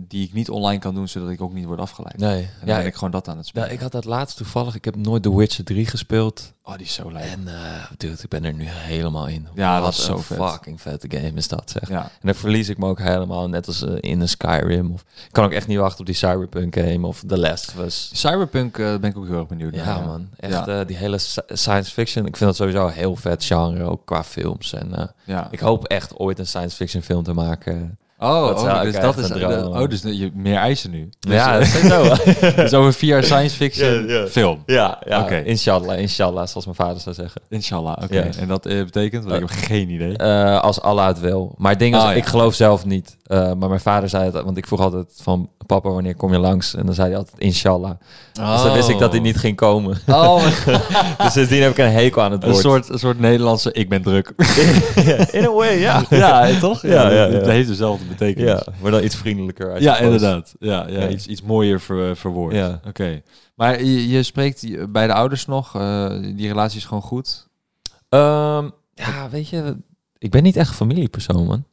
die ik niet online kan doen, zodat ik ook niet word afgeleid.
Nee.
En dan
Ja,
ben
ik,
ik gewoon dat aan het
ja,
spelen.
Nou, ik had dat laatst toevallig. Ik heb nooit The Witcher 3 gespeeld.
oh, die is zo lijp.
En eh, dude, ik ben er nu helemaal in.
Ja, dat
Wat
is zo
een
vet.
fucking vette game is dat, zeg.
Ja,
En daar verlies ik me ook helemaal, net als eh, in een Skyrim. Of, ik kan ook echt niet wachten op die Cyberpunk game of The Last of Us.
Cyberpunk eh, ben ik ook heel erg benieuwd
Ja,
naar.
man, echt
Ja.
eh, die hele sci- science fiction. Ik vind dat sowieso een heel vet genre, ook qua films. En eh,
Ja.
ik hoop echt ooit een science fiction film te maken.
oh,
dat
oh,
zou ik
dus
echt
dat is...
een droom.
oh, dus je meer eisen nu. Dus,
ja,
eh,
dat is zo.
dus over vier jaar science fiction
Ja, ja.
film.
ja, ja.
Oké.
inshallah, inshallah, zoals mijn vader zou zeggen.
Inshallah, oké.
Ja.
En dat eh, betekent? Want ik heb geen idee.
Eh, als Allah het wil. Maar het ding is,
Ah, ja.
ik geloof zelf niet. Eh, maar mijn vader zei het, want ik vroeg altijd van... Papa, wanneer kom je langs? En dan zei hij altijd, inshallah. Dus dan wist ik dat hij niet ging komen.
Oh,
dus sindsdien heb ik een hekel aan het
een
woord.
soort, een soort Nederlandse ik ben druk.
In a way, ja.
ja, toch?
Ja, ja,
Het
ja.
heeft dezelfde betekenis.
ja. Maar dan iets vriendelijker. I
Ja,
suppose.
inderdaad. Ja, ja,
Ja.
Iets, iets mooier ver, eh, verwoord.
Ja.
Oké. Maar je, je spreekt je- bij de ouders nog. eh, die relatie is gewoon goed.
Ehm, ja, weet je... Ik ben niet echt een familiepersoon, man.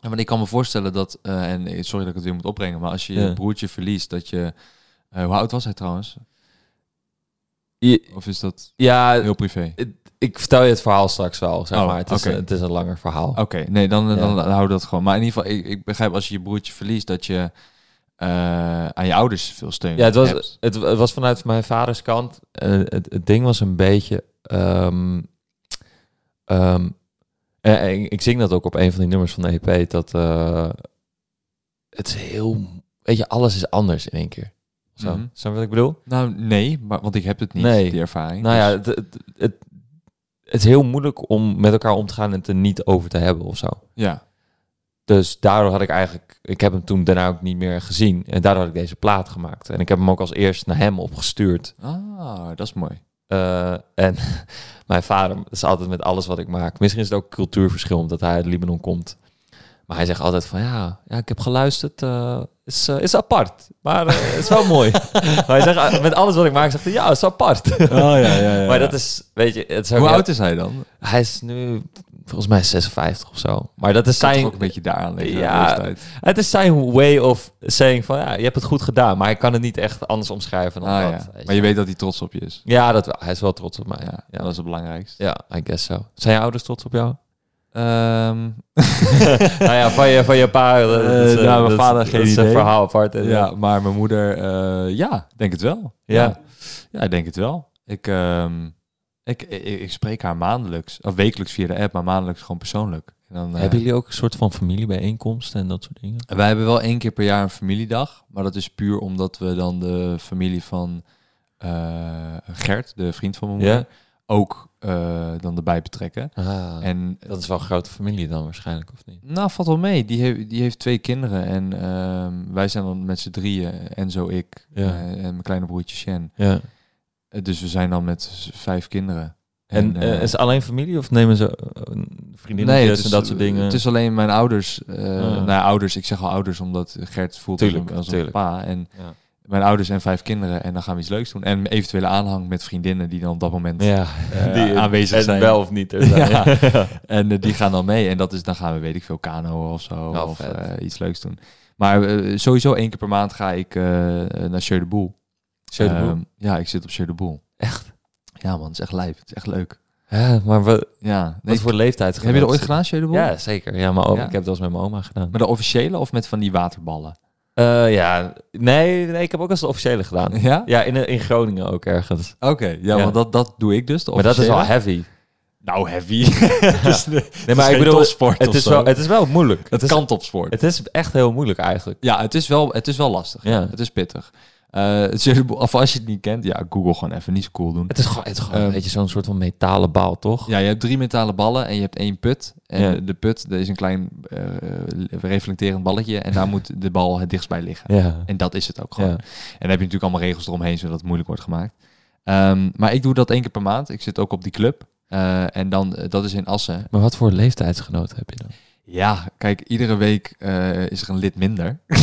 Ja, want ik kan me voorstellen dat... eh, en eh, sorry dat ik het weer moet opbrengen. Maar als je je
Ja.
broertje verliest, dat je... eh, hoe oud was hij trouwens?
Je-
Of is dat
ja,
heel privé?
het- ik vertel je het verhaal straks wel, zeg
Oh,
maar. Het is,
oké.
een- het is een langer verhaal.
Oké, nee, dan, eh,
Ja.
dan hou dat gewoon. Maar in ieder geval, ik, ik begrijp als je je broertje verliest... dat je eh, aan je ouders veel steun
Ja, het was,
hebt.
het, het was vanuit mijn vaders kant. Eh, het, het ding was een beetje. ehm, ehm, en- en ik, ik zing dat ook op een van die nummers van de EP. Dat eh, het is heel. Weet je, alles is anders in één keer. Zo.
Mhm.
Snap je wat ik bedoel?
Nou, nee, maar, want ik heb het niet,
Nee.
die ervaring.
Nou ja,
Dus-
het, het, het, het is heel moeilijk om met elkaar om te gaan en het er niet over te hebben of zo.
ja.
Dus daardoor had ik eigenlijk, ik heb hem toen daarna ook niet meer gezien. En daardoor had ik deze plaat gemaakt. En ik heb hem ook als eerst naar hem opgestuurd.
Ah, dat is mooi.
Eh, en mijn vader dat is altijd met alles wat ik maak. Misschien is het ook cultuurverschil omdat hij uit Libanon komt. Maar hij zegt altijd van ja, ja ik heb geluisterd. eh, is, eh, is apart. Maar eh, is wel mooi. maar hij zegt, eh, met alles wat ik maak, zegt hij ja, is apart.
Oh, ja, ja, ja.
maar dat is, weet je, het is ook
Hoe
heel-
oud is hij dan?
Hij is nu volgens mij 56 of zo. Maar dat is
Zijn
zijn.
ook een beetje daaraan liggen. Ja.
Ja.
Leeftijd.
Het is zijn way of saying van ja, je hebt het goed gedaan, maar ik kan het niet echt anders omschrijven dan
Ah,
dat.
ja.
weet
Maar je weet dat hij trots op je is. Ah,
Ja, dat wel. Hij is wel trots op mij.
Ja,
Ja,
Dat is het belangrijkste.
ja. I guess zo. Zijn je ouders trots op jou?
Ehm,
nou ja, van je, van je pa. dat- dat
Eh,
is, eh,
nou, mijn
dat is-
vader
dat
geen
is een
idee.
verhaal apart. En,
ja, maar mijn moeder, eh, ja, denk het wel.
Ja.
ja. Ja, ik denk het wel. Ik, ehm, ik, ik, ik spreek haar maandelijks, of wekelijks via de app, maar maandelijks gewoon persoonlijk. En dan, eh,
Hebben jullie ook een soort van familiebijeenkomsten en dat soort dingen?
Wij hebben wel één keer per jaar een familiedag. Maar dat is puur omdat we dan de familie van eh, Gert, de vriend van mijn moeder,
Ja.
ook eh, dan erbij betrekken.
Ah,
En
dat is wel een grote familie dan waarschijnlijk, of niet?
nou, valt wel mee. Die, heeft die heeft twee kinderen. En ehm, wij zijn dan met z'n drieën. En zo ik.
Ja.
eh, en mijn kleine broertje Shen.
Ja.
Eh, Dus we zijn dan met z- vijf kinderen.
En, eh,
eh,
is het alleen familie of nemen ze eh, vriendinnetjes
het is-
en dat soort dingen? Ah.
Het is alleen mijn ouders. eh Nou, ja, ouders, ik zeg al ouders, omdat Gert voelt als
Tuurlijk,
een- als een
tuurlijk.
pa. En
Ja.
mijn ouders en vijf kinderen. En dan gaan we iets leuks doen. En eventuele aanhang met vriendinnen die dan op dat moment...
ja,
eh, aanwezig
en
zijn.
wel of niet. er zijn.
Ja.
Ja.
En eh, die gaan dan mee. En dat is, dan gaan we, weet ik veel, kano of zo.
Ja,
of
Nou, vet.
eh, iets leuks doen. Maar eh, sowieso één keer per maand ga ik eh, eh, naar Sjeu de Boel.
Zo de boel.
Ehm, ja, ik zit op Sjeu de Boel.
Echt?
Ja man, het is echt lijp. Het is echt leuk.
Ja, maar wat,
Ja. Nee,
wat voor leeftijd?
heb je dat ooit gedaan, Sjeu de Boel?
Ja, zeker. Ja, maar ook,
Ja.
ik heb dat eens met mijn oma gedaan.
Met de officiële of met van die waterballen?
Eh, ja, nee, nee, ik heb ook als de officiële gedaan.
Ja?
Ja, in, in Groningen ook ergens.
Oké, ja,
Ja.
want dat, dat doe ik dus. de
Maar dat is wel
officiële.
heavy.
Nou, heavy. het is,
Nee, maar ik bedoel, het is, wel,
Het,
het is wel moeilijk. Het is,
kan topsport.
het is echt heel moeilijk eigenlijk.
ja, het is wel, het is wel lastig.
Ja.
Het is pittig. Eh, het is- of als je het niet kent, ja, Google gewoon even niet zo cool doen.
Het is gewoon, het is gewoon
Ehm,
een beetje zo'n soort van metalen baal, toch?
Ja, je hebt drie metalen ballen en je hebt één put. En
Ja.
de put, er is een klein eh, reflecterend balletje en daar moet de bal het dichtst bij liggen.
Ja.
En dat is het ook gewoon.
ja.
En dan heb je natuurlijk allemaal regels eromheen, zodat het moeilijk wordt gemaakt. Ehm, maar ik doe dat één keer per maand. Ik zit ook op die club. Eh, en dan, eh, dat is in Assen.
Maar wat voor leeftijdsgenoten heb je dan?
Ja, kijk, iedere week eh, is er een lid minder.
Oh,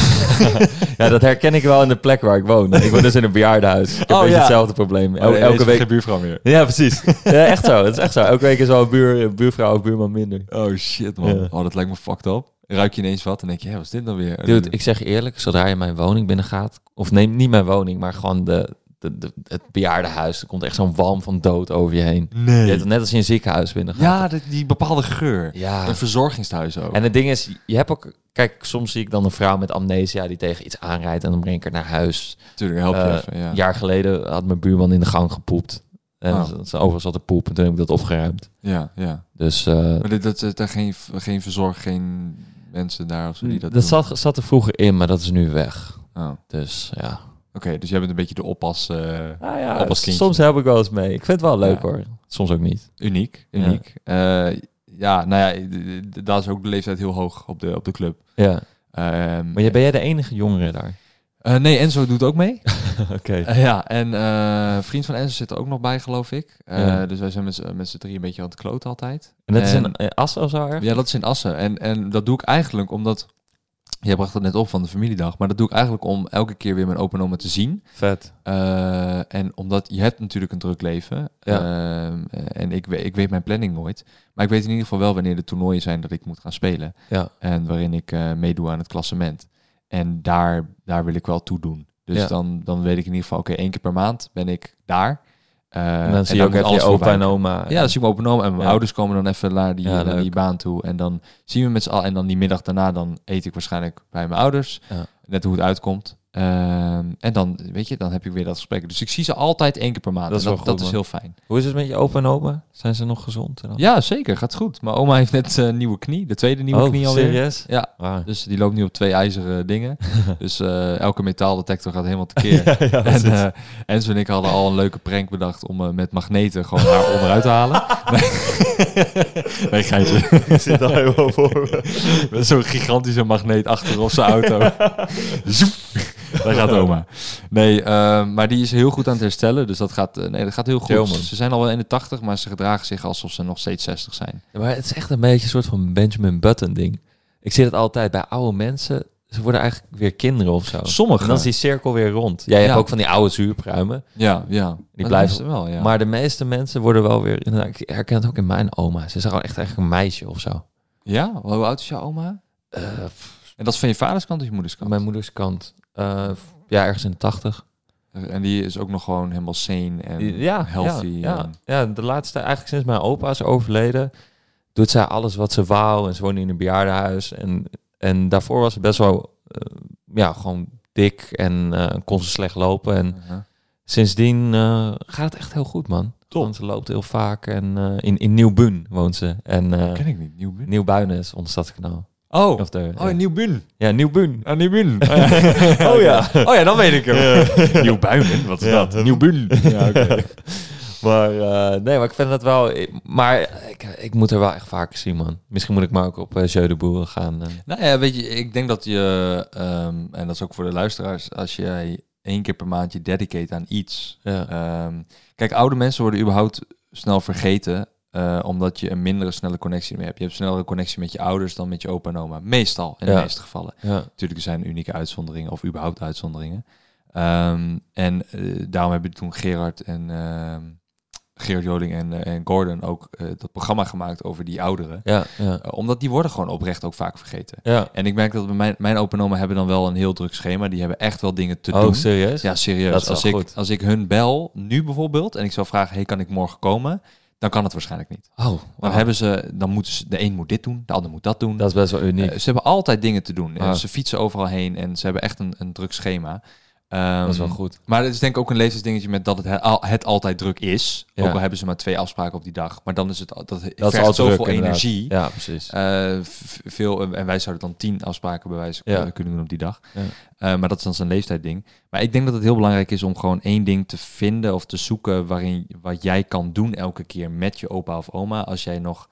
Ja, dat herken ik wel in de plek waar ik woon. Ik woon dus in een bejaardenhuis. Ik heb
Oh,
een beetje
ja.
hetzelfde probleem.
Eh,
El- elke week...
buurvrouw meer.
Ja, precies. ja, echt zo. Het is echt zo. Elke week is wel een buur, een buurvrouw of buurman minder.
Oh shit, man.
Ja.
Oh, dat lijkt me fucked up. Ruik je ineens wat en denk je, hé, wat is dit dan weer? En
Dude,
dan-
ik zeg je eerlijk, zodra je mijn woning binnengaat, of neem niet mijn woning, maar gewoon de, de, de- het bejaardenhuis, er komt echt zo'n walm van dood over je heen. Je
Nee.
hebt het net als je in een ziekenhuis binnengaat.
Ja, dat- die bepaalde geur.
Ja.
Een verzorgingstehuis ook.
En het ding is, je hebt ook, kijk, soms zie ik dan een vrouw met amnesia die tegen iets aanrijdt en dan breng ik haar naar huis.
Natuurlijk, help je
Eh,
even. Ja.
Een jaar geleden had mijn buurman in de gang gepoept. En
Oh.
z- z- overigens had er poep en toen heb ik dat opgeruimd.
ja, ja.
Dus eh,
Maar dit, dat, dat, daar geen, geen verzorg, geen mensen daar of zo die dat,
mm, dat
doen.
zat, zat er vroeger in, maar dat is nu weg.
Oh. Oké,
Dus ja.
dus jij bent een beetje de oppas... eh,
Ah ja,
Op als kindje.
soms help ik wel eens mee. Ik vind het wel leuk
Ja.
hoor. Soms ook niet.
Uniek,
Ja.
uniek. Ja, ja nou ja, d- d- daar is ook de leeftijd heel hoog op de, op de club.
Ja.
Ehm,
Maar jij- ben jij de enige jongere daar?
eh, nee, Enzo doet ook mee.
Oké.
Eh, ja, en eh, vriend van Enzo zit er ook nog bij, geloof ik. Eh,
Ja.
Dus wij zijn met z'n- met z'n drie een beetje aan het kloten altijd.
En dat is
En-
een eh, as of zo erg?
Ja, dat is in Assen. En, en dat doe ik eigenlijk omdat... Jij bracht het net op van de familiedag. Maar dat doe ik eigenlijk om elke keer weer mijn open oma te zien.
Vet.
Eh, en omdat je hebt natuurlijk een druk leven.
Ja.
Ehm, en ik, we- ik weet mijn planning nooit. Maar ik weet in ieder geval wel wanneer de toernooien zijn dat ik moet gaan spelen.
Ja.
En waarin ik eh, meedoe aan het klassement. En daar, daar wil ik wel toe doen. Dus
Ja.
dan, dan weet ik in ieder geval, oké, één keer per maand ben ik daar. Eh,
en dan zie je
daar
ook
moet
even
alles
je
voor
opa en
wijken.
oma.
Ja, dan zie ik mijn openomen en mijn
Ja.
ouders komen dan even naar die,
Ja,
naar die
leuk.
baan toe. En dan zien we met z'n allen. En dan die middag daarna, dan eet ik waarschijnlijk bij mijn ouders.
Ja.
Net hoe het uitkomt. Ehm, en dan, weet je, dan heb ik weer dat gesprek. Dus ik zie ze altijd één keer per maand.
Dat
En
is wel
dat,
goed,
dat is
man.
heel fijn.
Hoe is het met je opa en oma? Zijn ze nog gezond? en al?
Ja, zeker. Gaat goed. Mijn oma heeft net eh, een nieuwe knie. De tweede nieuwe
oh,
knie alweer.
serieus?
Ja.
Wauw.
Dus die loopt nu op twee ijzeren dingen. dus eh, elke metaaldetector gaat helemaal tekeer.
Ja, ja,
en
precies.
eh Enzo en ik hadden al een leuke prank bedacht om eh, met magneten gewoon haar onderuit te halen. nee, nee geintje.
zit al helemaal voor
Met zo'n gigantische magneet achter op zijn auto. Zoep. Daar gaat oma. Nee, eh, maar die is heel goed aan het herstellen. Dus dat gaat, eh, nee, dat gaat heel goed.
Chill, man.
ze zijn al wel 81, maar ze gedragen zich alsof ze nog steeds 60 zijn.
Maar het is echt een beetje een soort van Benjamin Button ding. Ik zie dat altijd bij oude mensen. Ze worden eigenlijk weer kinderen of zo.
Sommigen.
En dan is die cirkel weer rond. Jij hebt
Ja.
ook van die oude zuurpruimen.
Ja, ja. Maar dat
blijven-
is er wel, ja.
Maar de meeste mensen worden wel weer... inderdaad, Ik herken het ook in mijn oma. Ze is gewoon echt eigenlijk een meisje of zo.
Ja? Hoe oud is jouw oma?
Eh,
En dat is van je vaders kant of je moeders
aan
kant?
mijn moeders kant. eh, ja, ergens in de tachtig.
Eh, En die is ook nog gewoon helemaal sane en
Ja,
healthy.
Ja, ja,
en-
ja, de laatste, eigenlijk sinds mijn opa is overleden, doet zij alles wat ze wou. En ze woonde in een bejaardenhuis. En, en daarvoor was ze best wel, eh, ja, gewoon dik en eh, kon ze slecht lopen. En
Uh-huh.
sindsdien eh, gaat het echt heel goed, man. Want ze loopt heel vaak. En eh, in, in Nieuwbuin woont ze. En eh
Ken ik niet. Nieuwbun.
Nieuwbuinen is ons stadskanaal.
Oh,
Of de, eh,
oh Nieuwbun.
ja, Nieuwbuin.
Ah, Nieuwbun. oh ja. Oh ja, dan weet ik hem. Nieuwbuinen, wat is
Ja.
dat? Nieuwbun. Ja, oké.
Maar eh, nee, maar ik vind dat wel. ik- Maar ik, ik moet er wel echt vaker zien, man. Misschien moet ik maar ook op eh Jeu de Boeren gaan. en-
Nou ja, weet je, ik denk dat je, ehm, en dat is ook voor de luisteraars, als jij één keer per maand je dedicate aan iets.
ja.
ehm, kijk, oude mensen worden überhaupt snel vergeten, eh, omdat je een mindere snelle connectie mee hebt. Je hebt snellere connectie met je ouders dan met je opa en oma. Meestal, in de
Ja.
meeste gevallen.
ja.
Natuurlijk er zijn unieke uitzonderingen of überhaupt uitzonderingen. Ehm, en eh, daarom hebben toen Gerard en ehm, Gerard Joling en, eh, en Gordon ook eh, dat programma gemaakt over die ouderen.
Ja, ja,
Eh, omdat die worden gewoon oprecht ook vaak vergeten.
ja.
En ik merk dat bij mijn, mijn open oma hebben dan wel een heel druk schema. Die hebben echt wel dingen te
Oh,
doen.
serieus?
Ja, serieus.
Dat is wel
als, ik,
goed.
als ik hun bel, nu bijvoorbeeld, en ik zou vragen, hey, kan ik morgen komen? Dan kan het waarschijnlijk niet.
Oh,
Dan,
wauw.
hebben ze, dan moeten ze, de een moet dit doen, de ander moet dat doen.
dat is best wel uniek.
Eh, ze hebben altijd dingen te doen. Eh,
Ah.
Ze fietsen overal heen en ze hebben echt een, een druk schema. Ehm,
dat is wel goed.
Maar het is denk ik ook een leeftijdsdingetje met dat het, he- al- het altijd druk is.
Ja.
Ook al hebben ze maar twee afspraken op die dag. Maar dan is het al- dat, het
Dat
vergt
is al
zoveel
druk, inderdaad.
energie.
Ja, precies.
Eh, v- veel, en wij zouden dan tien afspraken bij wijze van
Ja.
kunnen- kunnen doen op die dag.
Ja.
Eh, maar dat is dan zijn leeftijdding. Maar ik denk dat het heel belangrijk is om gewoon één ding te vinden of te zoeken waarin wat jij kan doen elke keer met je opa of oma als jij nog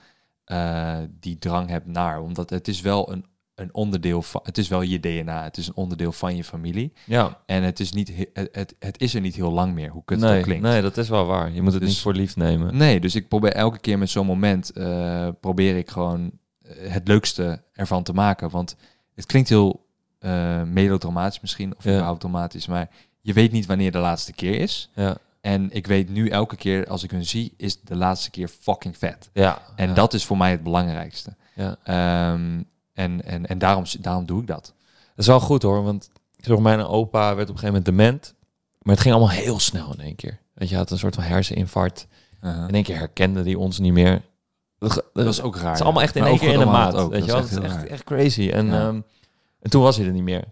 eh, die drang hebt naar. Omdat het is wel een, een onderdeel van, het is wel je DNA, het is een onderdeel van je familie.
ja,
En het is, niet, he- het, het, het is er niet heel lang meer, hoe kut het
nee,
ook klinkt.
nee, dat is wel waar. Je moet het
Dus-
niet voor lief nemen.
Nee, dus ik probeer elke keer met zo'n moment eh, probeer ik gewoon eh, het leukste ervan te maken. Want het klinkt heel eh melodramatisch misschien, of
Ja.
automatisch, maar je weet niet wanneer de laatste keer is.
Ja,
En ik weet nu elke keer als ik hun zie, is de laatste keer fucking vet.
ja.
En
ja,
dat is voor mij het belangrijkste.
Ja.
Ehm, en en, en daarom, daarom doe ik dat.
Dat is wel goed hoor, want door mijn opa werd op een gegeven moment dement. Maar het ging allemaal heel snel in één keer. Want je had een soort van herseninfarct. In één keer herkende die ons niet meer. Uh-huh. Dat,
Dat
was
is ook raar.
Het is allemaal echt in één keer in de maat.
dus
weet je wel? Het is echt, echt crazy. En,
Ja.
ehm, en toen was hij er niet meer.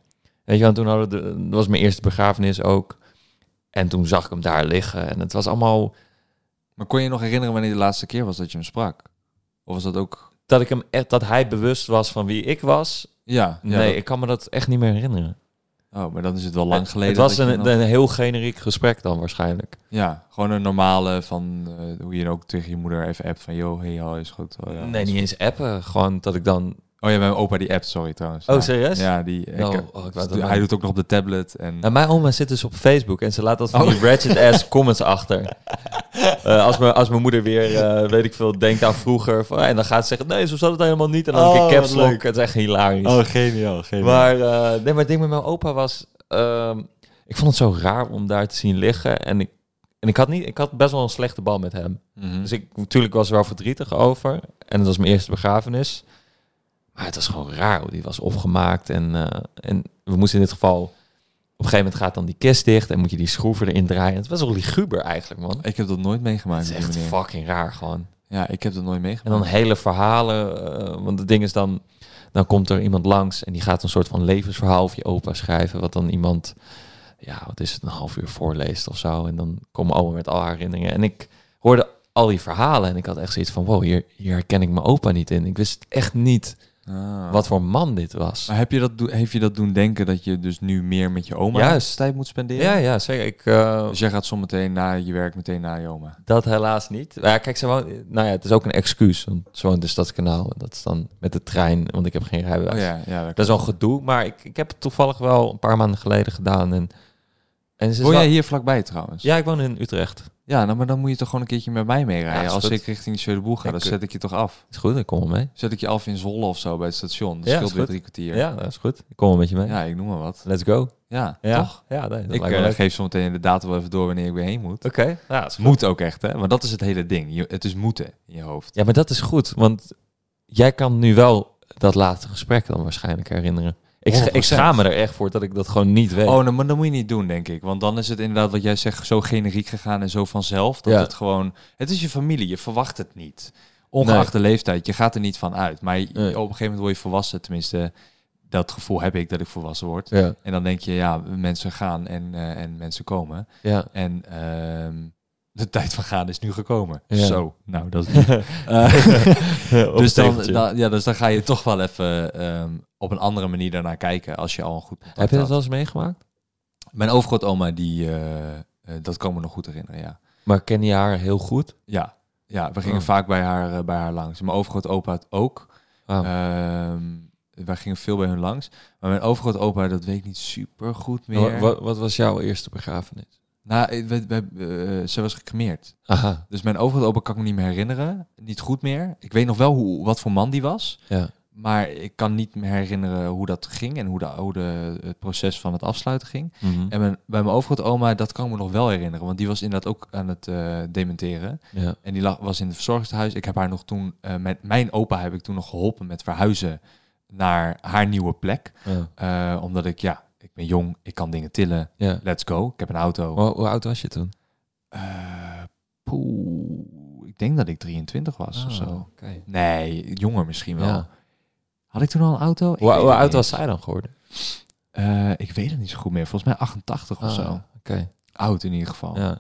Weet je wel, en toen hadden we de- dat was mijn eerste begrafenis ook. En toen zag ik hem daar liggen. En het was allemaal
Maar kon je je nog herinneren wanneer de laatste keer was dat je hem sprak? Of was dat ook...
dat ik hem echt, dat hij bewust was van wie ik was.
Ja, ja,
nee,
dat-
ik kan me dat echt niet meer herinneren.
Oh, maar dan is het wel lang geleden.
Het was
dat je
een,
nog-
een heel generiek gesprek dan waarschijnlijk.
Ja, gewoon een normale van eh, hoe je ook tegen je moeder even appt van yo, hey, ho, is goed. Oh, ja,
nee,
is
niet
goed.
eens appen. Gewoon dat ik dan.
Oh ja, mijn opa die appt, sorry trouwens.
Oh,
Ja.
serieus?
Ja, die.
Nou,
ik,
oh, ik wou dat
hij
wel.
doet ook nog op de tablet en.
Nou, mijn oma zit dus op Facebook en ze laat dat van
Oh.
die ratchet ass comments achter. Eh, als, mijn, als mijn moeder weer, eh, weet ik veel, denkt aan vroeger. Van, en dan gaat ze zeggen, nee, zo zat het helemaal niet. En dan
Oh,
een keer caps
wat leuk. Oh,
lock. Het is echt hilarisch.
geniaal,
maar, eh, nee, maar het ding met mijn opa was... ehm, ik vond het zo raar om daar te zien liggen. En ik, en ik, had, niet, ik had best wel een slechte bal met hem.
Mhm.
Dus ik, natuurlijk was er wel verdrietig over. En het was mijn eerste begrafenis. Maar het was gewoon raar hoe die was opgemaakt. En, eh, en we moesten in dit geval... Op een gegeven moment gaat dan die kist dicht en moet je die schroeven erin draaien. Het was wel liguber eigenlijk, man.
Ik heb dat nooit meegemaakt.
Het is
op die
echt
manier.
fucking raar gewoon.
Ja, ik heb dat nooit
En
meegemaakt.
dan hele verhalen. eh, want het ding is dan, dan komt er iemand langs en die gaat een soort van levensverhaal of je opa schrijven. Wat dan iemand, ja, wat is het, een half uur voorleest of zo. En dan komen oma met al haar herinneringen. En ik hoorde al die verhalen en ik had echt zoiets van, wow, hier, hier herken ik mijn opa niet in. Ik wist echt niet
Ah.
wat voor man dit was.
Maar heb je dat, do- heeft je dat doen denken dat je dus nu meer met je oma
Juist.
tijd moet spenderen?
Ja, ja, zeker. Ik, eh,
Dus jij gaat zometeen na je werk meteen naar je oma.
dat helaas niet. Maar ja, kijk, ze woont, nou ja, het is ook een excuus. Want ze woont in de Stadskanaal. En Dat is dan met de trein, want ik heb geen rijbewijs.
Oh ja, ja. dat
Dat is wel gedoe, maar ik, ik heb het toevallig wel een paar maanden geleden gedaan. En En ze is
Woon
wel-
jij hier vlakbij trouwens?
Ja, ik woon in Utrecht.
Ja, nou, maar dan moet je toch gewoon een keertje met mij meerijden.
Ja, is
Als
goed.
ik richting de Sjeudeboel ga,
Ja,
dan
kun-
zet ik je toch af.
Is goed, ik kom wel mee.
Zet ik je af in Zwolle of zo bij het station. Dat
Ja,
scheelt
is
weer
goed.
drie kwartier.
Ja, dat is goed. Ik kom wel met je mee.
Ja, ik noem maar wat.
Let's go.
Ja,
Ja,
toch?
ja nee, dat
Ik
lijkt me
eh,
leuk.
geef zo meteen de datum wel even door wanneer ik weer heen moet.
Oké, ja, is goed.
Moet ook echt, hè? Want dat is het hele ding. Je, het is moeten in je hoofd.
Ja, maar dat is goed, want jij kan nu wel dat laatste gesprek dan waarschijnlijk herinneren. Ik, scha- ik
100%.
schaam me er echt voor dat ik dat gewoon niet weet.
Oh, nou, maar dat moet je niet doen, denk ik. Want dan is het inderdaad wat jij zegt zo generiek gegaan en zo vanzelf. Dat
Ja.
het gewoon... Het is je familie, je verwacht het niet. Ongeacht de leeftijd, je gaat er niet van uit. Maar je- op
Nee.
een gegeven moment word je volwassen. Tenminste, dat gevoel heb ik dat ik volwassen word.
Ja,
En dan denk je, ja, mensen gaan en, eh, en mensen komen.
ja.
En ehm, de tijd van gaan is nu gekomen.
Ja.
Zo, nou, dat is niet... Eh, dus, dan, dan- ja, dus dan ga je toch wel even ehm, op een andere manier daarnaar kijken als je al een goed contact
Heb je
had.
dat wel eens meegemaakt?
Mijn overgrootoma, die, eh, eh, dat kan me nog goed herinneren, ja.
Maar ken je haar heel goed?
Ja, ja we gingen
Oh.
vaak bij haar, eh, bij haar langs. Mijn overgrootopa had ook.
Ah,
Ehm, wij gingen veel bij hun langs. Maar mijn overgrootopa, dat weet ik niet super goed
wa-
meer.
wa- wat, was jouw eerste begrafenis?
Nou, eh, we- we- eh, ze was gecremeerd.
Aha,
Dus mijn overgrootopa kan ik me niet meer herinneren. Niet goed meer. Ik weet nog wel hoe, wat voor man die was.
ja.
Maar ik kan niet meer herinneren hoe dat ging en hoe, de, hoe de, het proces van het afsluiten ging.
Mhm.
En mijn, bij mijn overgrootoma, dat kan ik me nog wel herinneren. Want die was inderdaad ook aan het eh, dementeren.
ja.
En die lag, was in het verzorgingshuis. Ik heb haar nog toen, eh, met mijn opa heb ik toen nog geholpen met verhuizen naar haar nieuwe plek.
ja.
Eh, omdat ik, ja, ik ben jong, ik kan dingen tillen.
ja.
Let's go, ik heb een auto.
Hoe, hoe oud was je toen?
Eh, poeh, ik denk dat ik 23 was of
Ah,
zo.
oké.
Nee, jonger misschien wel.
Ja.
Had ik toen al een auto? Ik
Hoe,
weet
hoe
het
oud
niet
was
eens.
zij dan geworden?
Eh, ik weet het niet zo goed meer. Volgens mij 88 of
Ah,
zo.
oké.
Oud in ieder geval.
Ja,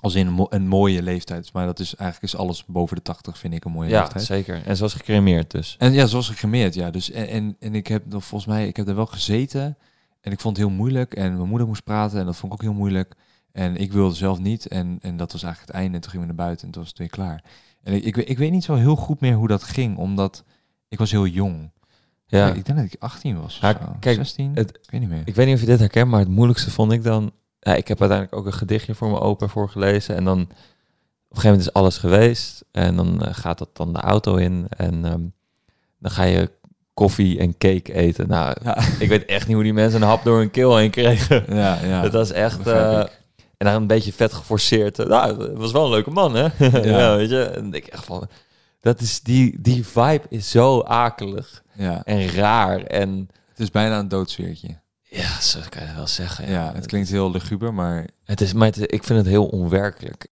Als in een, mo- een mooie leeftijd. Maar dat is eigenlijk is alles boven de 80 vind ik een mooie
ja
leeftijd.
zeker. En ze was gecremeerd dus.
En ja, zoals gecremeerd, ja. Dus en, en, en ik heb nog volgens mij, ik heb er wel gezeten en ik vond het heel moeilijk. En mijn moeder moest praten en dat vond ik ook heel moeilijk. En ik wilde zelf niet en, en dat was eigenlijk het einde. En toen gingen we naar buiten en toen was het weer klaar. En ik, ik, weet- ik weet niet zo heel goed meer hoe dat ging, omdat ik was heel jong.
Ja.
Ik denk dat ik 18 was. of
Ja,
zo.
kijk,
16?
het-
ik weet niet meer.
Ik weet niet of je dit herkent, maar het moeilijkste vond ik dan... Ja, ik heb uiteindelijk ook een gedichtje voor mijn opa voorgelezen. En dan op een gegeven moment is alles geweest. En dan eh, gaat dat dan de auto in. En ehm, dan ga je koffie en cake eten. Nou,
Ja.
ik weet echt niet hoe die mensen een hap door hun keel heen kregen.
ja, ja.
dat was echt... eh,
begrijp ik.
en dan een beetje vet geforceerd. eh, Nou, het was wel een leuke man, hè? Ja,
Ja.
weet je? En ik echt van... Dat is die, die vibe is zo akelig
ja.
en raar. En
Het is bijna een doodsfeertje.
ja, zo kan je dat wel zeggen.
Ja, het klinkt heel luguber, maar
Het is, maar het is- ik vind het heel onwerkelijk.